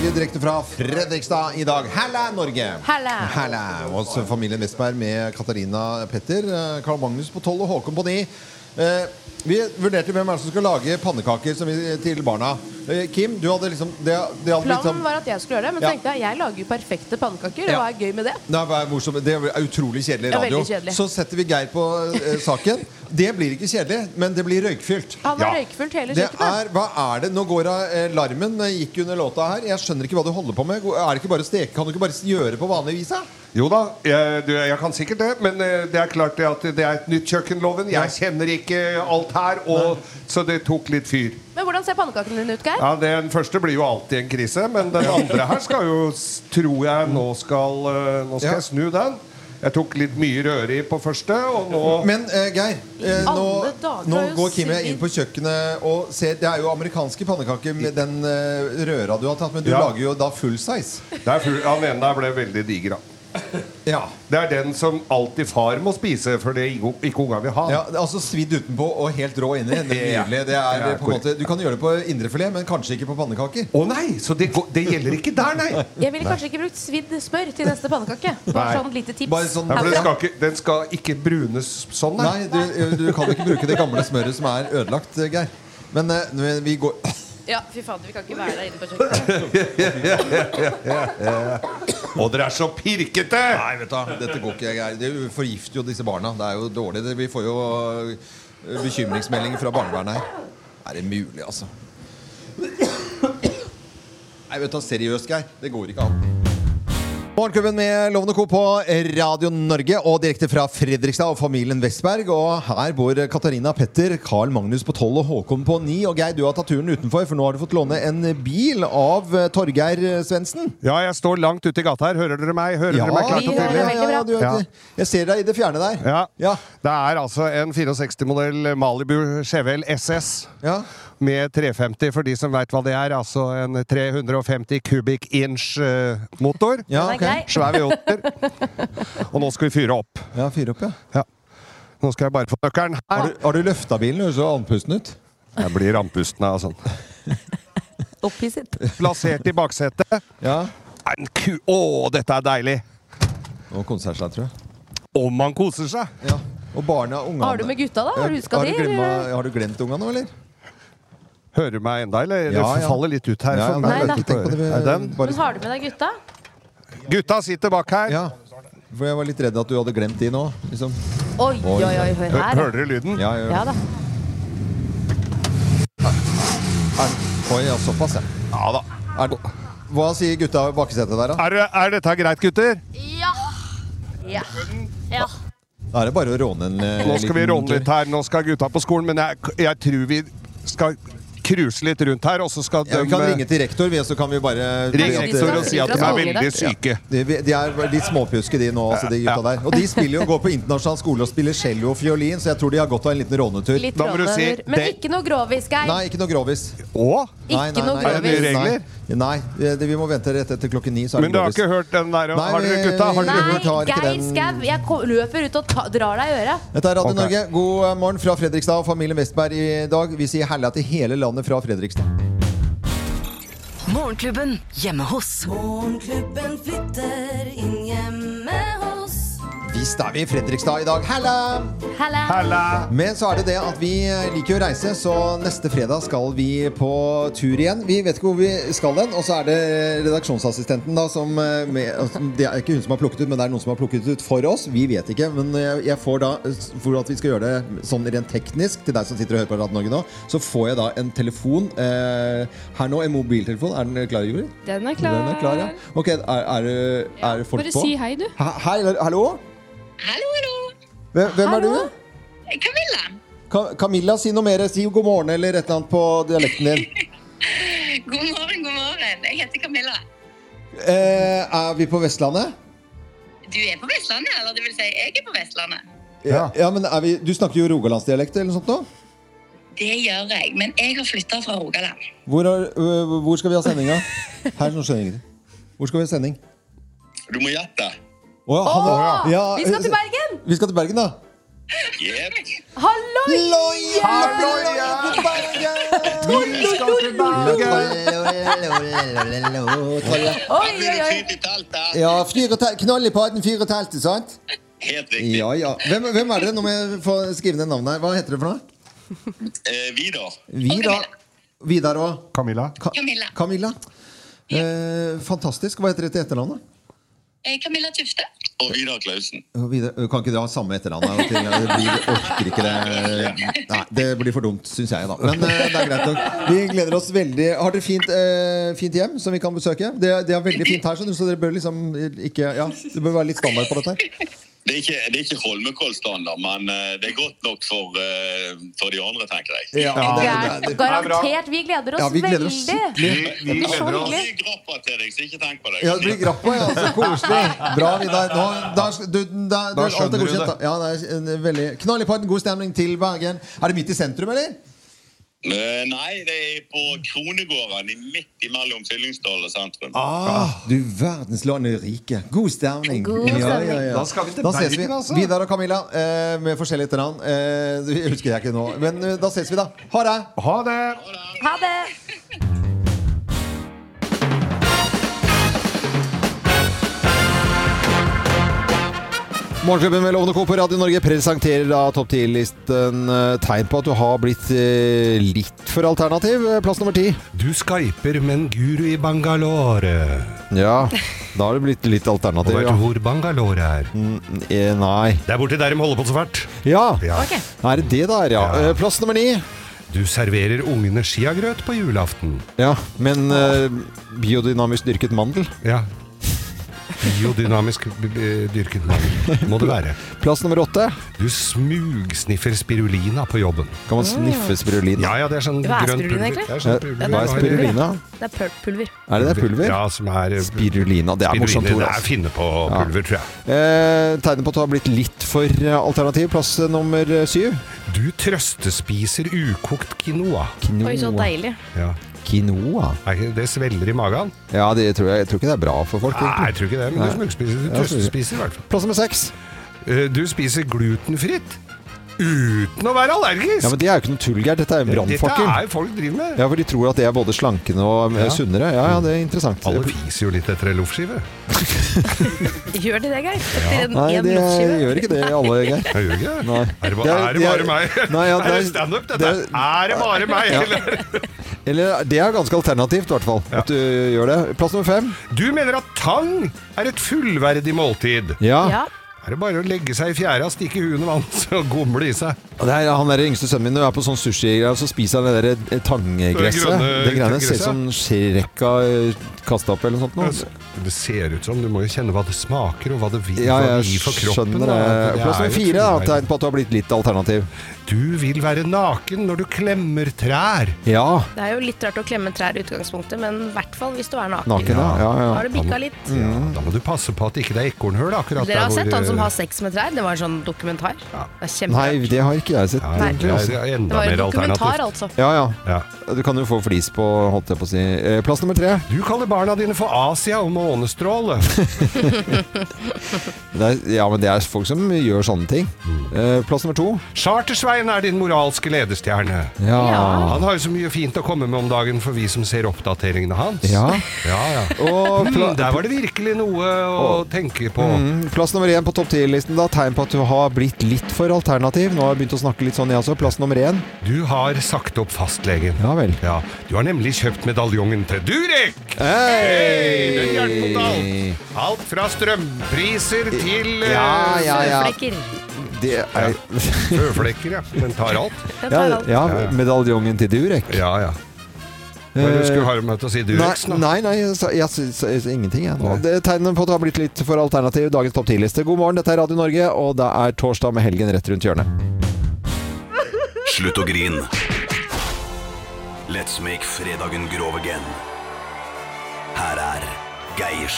Vi er direkte fra Fredrikstad i dag. Halla, Norge! Halla. Halla hos familien Westberg med Katarina Petter, eh, Karl Magnus på 12 og Håkon på 9. Eh, vi vurderte hvem er det som skal lage pannekaker som vi, til barna. Eh, Kim, du hadde liksom det, det hadde blitt Planen sånn- var at jeg skulle gjøre det, men Ja. tenkte jeg jeg lager jo perfekte pannekaker. Ja. Hva er gøy med det? Nei, hva er morsomt? Det er utrolig kjedelig Ja, radio. veldig kjedelig. Så setter vi Geir på eh, saken. Det blir ikke kjedelig, men det blir røykfylt. Han har røykfullt hele Det kjøkkenet. er, hva er det? Nå går alarmen eh, gikk under låta her. Jeg skjønner ikke hva du holder på med. Er det ikke bare å steke? Kan du ikke bare gjøre på vanlig vis? da? Jo da, jeg, du, jeg kan sikkert det, men eh, det er klart det at det er et nytt kjøkkenloven. Jeg kjenner ikke alt her, og, så det tok litt fyr. Men hvordan ser pannekakene dine ut, Geir? Ja, Den første blir jo alltid en krise, men den andre her skal jo s- Tror jeg nå skal, eh, nå skal jeg snu den. Jeg tok litt mye røre i på første, og nå Men eh, Geir, eh, I nå, alle dager, nå det er jo går Kim og jeg sykt. inn på kjøkkenet og ser Det er jo amerikanske pannekaker med den eh, røra du har tatt, men du Ja. lager jo da full size. Det er full, han ene der ble veldig diger, da. Det er den som alltid far må spise, for det ikke ikke unga vil ha. Ja, det er altså Svidd utenpå og helt rå inni. Det er Ja. nydelig. Det er, Ja, på en måte, du kan gjøre det på indrefilet, men kanskje ikke på pannekaker. Å nei, Så det, går- det gjelder ikke der, nei! Jeg ville kanskje ikke brukt svidd smør til neste pannekake. Bare Nei. sånn lite tips. Bare sånn- Nei, for den, herfra. skal ikke, den skal ikke brunes sånn, Nei, du, du kan ikke bruke det gamle smøret som er ødelagt, Geir. Men eh, men vi går Ja, fy fader, vi kan ikke være der inne på kjøkkenet. Og dere er så pirkete! Nei, vet du, dette går ikke, Geir. Det forgifter jo disse barna. Det er jo dårlig. Det- Vi får jo eh, bekymringsmeldinger fra barnevernet her. Er det mulig, altså? Nei, vet du, seriøst, Geir. Det går ikke an. Morgenklubben med Lovende Co. på Radio Norge og direkte fra Fredrikstad og familien Westberg. Og her bor Katarina Petter, Carl Magnus på 12 og Håkon på 9. Og Geir, du har tatt turen utenfor, for nå har du fått låne en bil av eh, Torgeir eh, Svendsen. Ja, jeg står langt ute i gata her. Hører dere meg? Hører Ja, dere meg klart vi og hører deg tydelig? veldig bra. Ja, du vet det. Jeg ser deg i det fjerne der. Ja. Det er altså en 64-modell Malibu Chevelle SS med 350, for de som veit hva det er. Altså en 350 kubikk inch eh, motor. Ja, Den er ok. grei. Svær V8-er. Og nå skal vi fyre opp. Ja, fyre opp, ja. Nå skal jeg bare få nøkkelen her. Har du, har du løfta bilen? Høres så andpusten ut. Jeg blir andpusten av sånn. Opphisset. Plassert i baksetet. En ku... Å, dette er deilig! Og koser seg, tror jeg. Om man koser seg! Ja. Og barna og ungene Har du med gutta, da? Har du huska de? glemt- eller? har du glemt unga nå, eller? Hører du meg enda, eller? Ja, det ja. faller litt ut her. sånn. Ja, for ja, meg. nei, da. Tenk på det, vi- Er den? Men har du med deg gutta? Gutta sitter bak her. For jeg var litt redd at du hadde glemt de nå. Liksom. Oi, oi, oi, hør her. Hører dere lyden? Ja, ja, ja. Ja da. Oi, ja, såpass, ja. Ja da. Er, det- hva sier gutta i baksetet der, da? Er, dette greit, gutter? Ja. Ja. ja. Da er det bare å råne en eh, Nå skal vi liten råne tur. litt her. Nå skal gutta på skolen, men jeg, jeg tror vi skal cruise litt rundt her, og så skal Ja, vi kan ringe til rektor, vi, og så kan vi bare Ring rektor og si at de er veldig syke. Ja. De, de er litt småpjuske, de nå, altså, de gutta der. Og de spiller jo, går på internasjonal skole og spiller cello og fiolin, så jeg tror de har godt av en liten rånetur. Litt rånetur. Men ikke noe grovis, Geir. Nei, ikke noe grovis. Å? Ikke noe Er det nye grovis. regler? Nei, nei, det- det- vi må vente rett etter klokken ni. Så er Men det dere har grovis. ikke hørt den der? Nei, Har dere vi- gutta? Har dere Nei, hørt? tar ikke Geir den- Skau, jeg ko- løper ut og ta, drar deg i øret. Dette er Radio Ok. Norge. God eh, morgen fra Fredrikstad og familien Westberg i dag. Vi sier hella til hele landet fra Fredrikstad. Morgenklubben hjemme hos. Morgenklubben flytter inn hjemme hos Vi visst er vi i Fredrikstad i dag. Halla! Men så er det det at vi eh, liker å reise, så neste fredag skal vi på tur igjen. Vi vet ikke hvor vi skal hen, og så er det redaksjonsassistenten da som eh, med, altså, Det er ikke hun som har plukket ut, men det er noen som har plukket ut for oss. Vi vet ikke, men jeg, jeg får da For at vi skal gjøre det sånn rent teknisk til deg som sitter og hører på Radio Norge nå, så får jeg da en telefon eh, her nå. En mobiltelefon. Er den klar, Juri? Den er klar. Den er klar, ja. Ok, er, er, det- er det folk Bare på? si hei, du. He- Hei, eller- hallo? Hallo, hallo. Hvem, hvem er du? Camilla. Ka- Camilla, si noe mer. Si god morgen eller et eller annet på dialekten din. God morgen, god morgen. Jeg heter Camilla. Eh, er vi på Vestlandet? Du er på Vestlandet, eller det vil si, jeg er på Vestlandet. Ja. men er vi, Du snakker jo rogalandsdialekt eller noe sånt nå? Det gjør jeg, men jeg har flytta fra Rogaland. Hvor, er, øh, hvor skal vi ha sendinga? Her nå skjønner jeg ikke. Hvor skal vi ha sending? Du må gjette. Å, ja, han- ja, vi skal til Bergen! Vi skal til Bergen, da. Halloi! Vi skal til Ja, fyr og tel- Knall i paden, fyr og teltet, sant? Helt riktig. Ja, ja. Hvem, hvem er dere? Nå må jeg få skrive ned navnet her. Hva heter dere for noe? Eh, vi, da? Vidar. Vidar og Camilla. Camilla. Camilla. Eh, fantastisk. Hva heter dere til etternavnet? Eh, Camilla Tufte. Og Vidar Klausen. Og Vidar, kan ikke dere ha samme etternavn? her og ting? Det blir, orker ikke det. Nei, det blir for dumt, syns jeg, da. Men eh, det er greit nok. Vi gleder oss veldig. Har dere fint, eh, fint hjem som vi kan besøke? Det, det er veldig fint her, skjønner du, så dere bør liksom ikke Ja, det bør være litt standard på dette her. Det er ikke, det er ikke Holmenkollstandard, men eh, det er godt nok for, eh, for de andre, tenker jeg. Ja, det er- det er- det er- Garantert. Vi gleder oss Ja, vi gleder oss veldig. skikkelig. Vi- vi det blir så gleder oss. hyggelig. Ja, det blir grappa, ja. Så koselig. Bra, Vidar. Nå, da, du, da, Da alt er skjønner du det. godkjent, da. Ja, det er en veldig Knall i paden, god stemning til Bergen. Er det midt i sentrum, eller? Eh, nei, det er på Kronegården, i- midt imellom Fyllingsdal og sentrum. Ah, du verdenslandet rike. God stemning. God stemning. Da skal vi til Da ses Bergen, altså. Vidar og Camilla eh, med forskjellig etternavn. Eh, det husker jeg ikke nå. Men eh, da ses vi, da. Ha det! Ha det! Ha det! Morgenklubben med Lovende Co på Radio Norge presenterer da topp 10-listen eh, tegn på at du har blitt eh, litt for alternativ. Eh, Plass nummer ti. Du skyper med en guru i Bangalore. Ja, da har det blitt litt alternativ. Og vet du ja. hvor Bangalore er? eh, nei. Det er borti der de holder på så fælt. Ja. Ok. Er det det der, ja? Eh, Plass nummer ni. Du serverer ungene skiagrøt på julaften. Ja, men eh, biodynamisk dyrket mandel? Ja. Biodynamisk b- b- dyrket mann må det være. Plass nummer åtte. Du smugsniffer spirulina på jobben. Kan man sniffe spirulina? Ah. Ja, ja, det er sånn Hva er grønt spirulina, pulver. egentlig? Det er sånn pulver. Hva er spirulina? Det er pul- pulver. Er det det pulver? Ja, som er Spirulina. Det er morsomt ord, Det altså. er finne på pulver, tror jeg. Eh, tegnet på at du har blitt litt for eh, alternativ. Plass eh, nummer eh, syv. Du trøstespiser ukokt quinoa. Oi, Mm. så deilig. Ja. Quinoa? Er ikke det svelger i magen? Ja, det tror jeg, jeg tror ikke det er bra for folk. Nei, jeg tror ikke det, men du Nei. smugspiser. Du Ja, trøstespiser i hvert fall. Plass nummer seks. Eh, Du spiser glutenfritt uten å være allergisk. Ja, men Det er jo ikke noe tull, Geir. Dette er en brannfakkel. Dette er jo folk driver med. Ja, for de tror at det er både slankende og eh, Ja. sunnere. Ja, ja, det er interessant. Alle fiser jo litt etter en loffskive. Gjør de det, Geir? Ja. Etter en, Nei, en det luftskive? gjør ikke det alle, Geir. Jeg gjør ikke det. Nei. Er det, ba- er det Det er- bare meg? Nei, ja, er det det er- standup, dette? det er det bare meg? Ja. Eller? Eller det er ganske alternativt, i hvert fall. At du gjør det. Plass nummer fem. Du mener at tang er et fullverdig måltid. Ja. Ja. Er det bare å legge seg i fjæra, stikke huet under vann og gomle i seg? Og Det er, han der yngste sønnen min når vi er på sånn sushi, og så spiser han det der eh, tanggresset. Det grønne Det greiene ser gresset, ut som skrekka kasta opp eller noe sånt. Nå. Altså, Det ser ut som Du må jo kjenne hva det smaker, og hva det vil Ja, hva det jeg gir for kroppen. skjønner det. da. Det Plass nummer er jo fire. da, fullverdig. Tegn på at du har blitt litt alternativ. Du vil være naken når du klemmer trær. Ja. Det er jo litt rart å klemme trær i utgangspunktet, men i hvert fall hvis du er naken. Naken, ja, ja, ja. Da har det bikka litt. Mm. Ja, da må du passe på at ikke det er ekornhull akkurat Dere har der sett hvor han som har sex med trær? Det var en sånn dokumentar. Det er kjempe... Nei, det har ikke jeg sett. Nei. egentlig, altså. Det er enda Det var jo mer dokumentar, alternativt. altså. Ja, ja. Du kan jo få flis på, holdt jeg på å si. Eh, Plass nummer tre. Du kaller barna dine for Asia og månestråle. Det er, ja, men det er folk som gjør sånne ting. Eh, Plass nummer to. Chartersveis Stein er din moralske ledestjerne. Ja. Han har jo så mye fint å komme med om dagen for vi som ser oppdateringene hans. Ja. ja, ja. Og pla- mm, der var det virkelig noe å tenke på. Mm, plass nummer én på topp 10-listen. da Tegn på at du har blitt litt for alternativ. Nå har jeg begynt å snakke litt sånn, jeg også. Plass nummer én. Du har sagt opp fastlegen. Ja vel. Ja, du har nemlig kjøpt medaljongen til Durek! Hei! Den hjelper mot alt. Alt fra strømpriser til eh, Ja, ja, ja. Det er Føflekker, ja. Den tar alt. ja, ja, medaljongen til Durek. Ja, ja. Men du skulle ha meg til å si Durek Nei, nei, nei jeg, sa- jeg, sy- sa- jeg, sa ingenting. Jeg, nå. Det tegner på at det har blitt litt for alternativ i dagens topp 10-liste. God morgen, dette er Radio Norge, og det er torsdag med helgen rett rundt hjørnet. Slutt å grin. Let's make fredagen grov again. Her er Geirs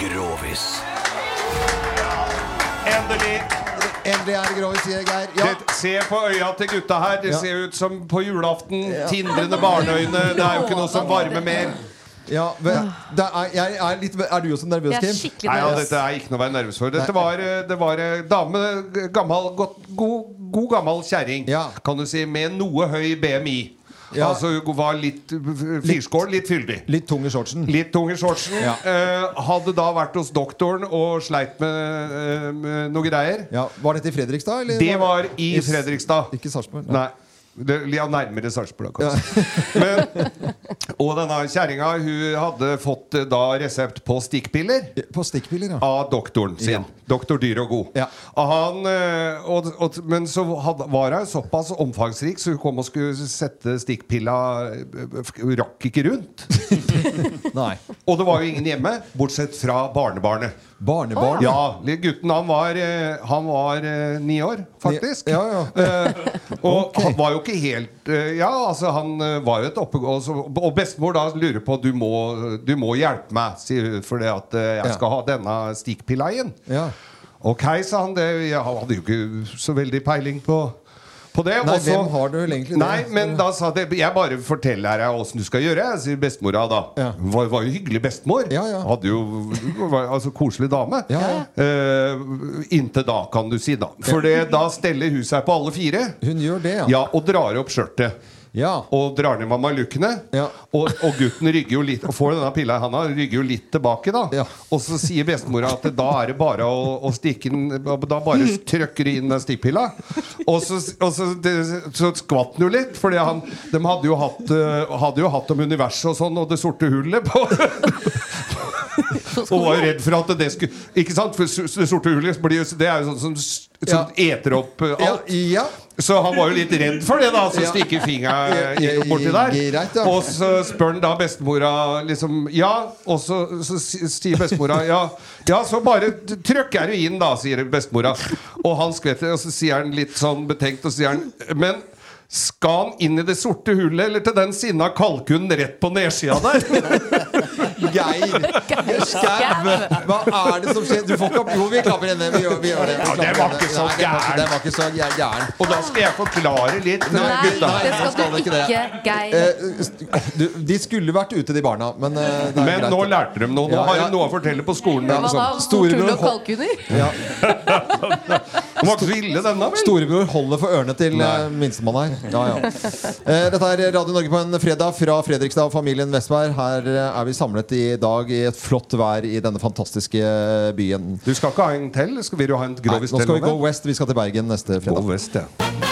Grovis. Endelig. Endelig er det grovis, sier Geir. Det- Se på øya til gutta her. Det Ja. ser ut som på julaften. Tindrende barneøyne. Det er jo ikke noe som varmer mer. Ja, men, det er, jeg er, litt, er du også nervøs, Kim? Nei, ja, dette er ikke noe å være nervøs for. Dette var, eh, det var eh, dame, eh, gammel, godt, god, god gammel kjerring, kan du si, med noe høy BMI. Ja. Altså hun var litt eh, f- firskål, litt fyldig. Litt tung i shortsen. Litt tung i shortsen. Ja. Eh, hadde da vært hos doktoren og sleit med, eh, med noe greier. Ja, var dette i Fredrikstad? Eller Det var i s- Fredrikstad. Ikke Sarpsborg? Nei. Det, ja, nærmere Sarpsborg, kanskje. Men, og denne kjerringa hun hadde fått eh, da resept på stikkpiller. På stikkpiller, ja. Av doktoren sin. Doktor dyr og god. Og han, eh, og, og, men så hadde, var hun såpass omfangsrik, så hun kom og skulle sette stikkpilla eh, f- Hun rakk ikke rundt. Nei. Og det var jo ingen hjemme, bortsett fra barnebarnet. Barnebarnet? Ja, lille Gutten han var, eh, han var eh, ni år, faktisk. Ja, Eh, og han var jo ikke helt eh, Ja, altså han eh, var jo et oppegå... Og, så- og bestemor da lurer på du må, du må hjelpe meg, sier hun, fordi at eh, Ja. jeg skal ha denne stikkpilla igjen. Ja. Ok, sa han. Det, jeg hadde jo ikke så veldig peiling på, på det. Nei, Og så- hvem har du vel egentlig det? Nei, men da sa det Jeg bare forteller deg åssen du skal gjøre, sier bestemora da. Hun var, var jo hyggelig bestemor. Hadde jo var, Altså koselig dame. Eh, inntil da, kan du si, da. For det, da steller hun seg på alle fire. Hun gjør det, ja. Ja, Og drar opp skjørtet. Og drar ned mamalukene. Og, og gutten rygger jo litt Og får denne pilla i handa, rygger jo litt tilbake, da. Og så sier bestemora at da er det bare å, å stikke den Da bare trykker du inn den stikkpilla. Og så, og så, det, så skvatt han jo litt, Fordi han, de hadde jo hatt eh, Hadde jo hatt om universet og sånn, og det sorte hullet på Og var jo redd for at det skulle Ikke sant? For s- s- det sorte hullet blir jo- Det er jo sånn som, s- som eter opp eh, alt. Så han var jo litt redd for det, da. Så Ja. stikker fingeren Ja, ja, borti der. greit, ja. Og så spør han da bestemora liksom Ja, og så, så si- sier bestemora ja, ja, så bare t- trykker du inn, da, sier bestemora. Og han skvetter, og så sier han litt sånn betenkt, og så sier han Men skal han inn i det sorte hullet, eller til den sinna kalkunen rett på nedsida der? Geir Skau! Hva er det som skjer? Du får ikke opp Jo, vi klapper henne. Vi gjør, vi gjør det. Vi Ja, det klapper var henne. ikke så Nei, det var ikke- Det var ikke så gæ- gæren. Og da skal jeg forklare litt. eh, gutta. nå skal vi det. Eh, st- du, de skulle vært ute, de barna. Men, eh, det er Men greit. nå lærte de noe. Nå Ja, har ja. de noe å fortelle på skolen. Ja, eller noe sånt. Storebror Hol- kalkuner? Ja. Den var ikke så ille, denne, vel? Storebror holder for ørene til eh, minstemann her. Ja, ja. Eh, Dette er Radio Norge på en fredag fra Fredrikstad og familien Vestberg. Her eh, er vi samlet i dag i et flott vær i denne fantastiske byen. Du skal ikke ha en til? Skal vi jo ha en grovis Nei, nå skal til vi gå over? west. Vi skal til Bergen neste fredag. Gå west, ja.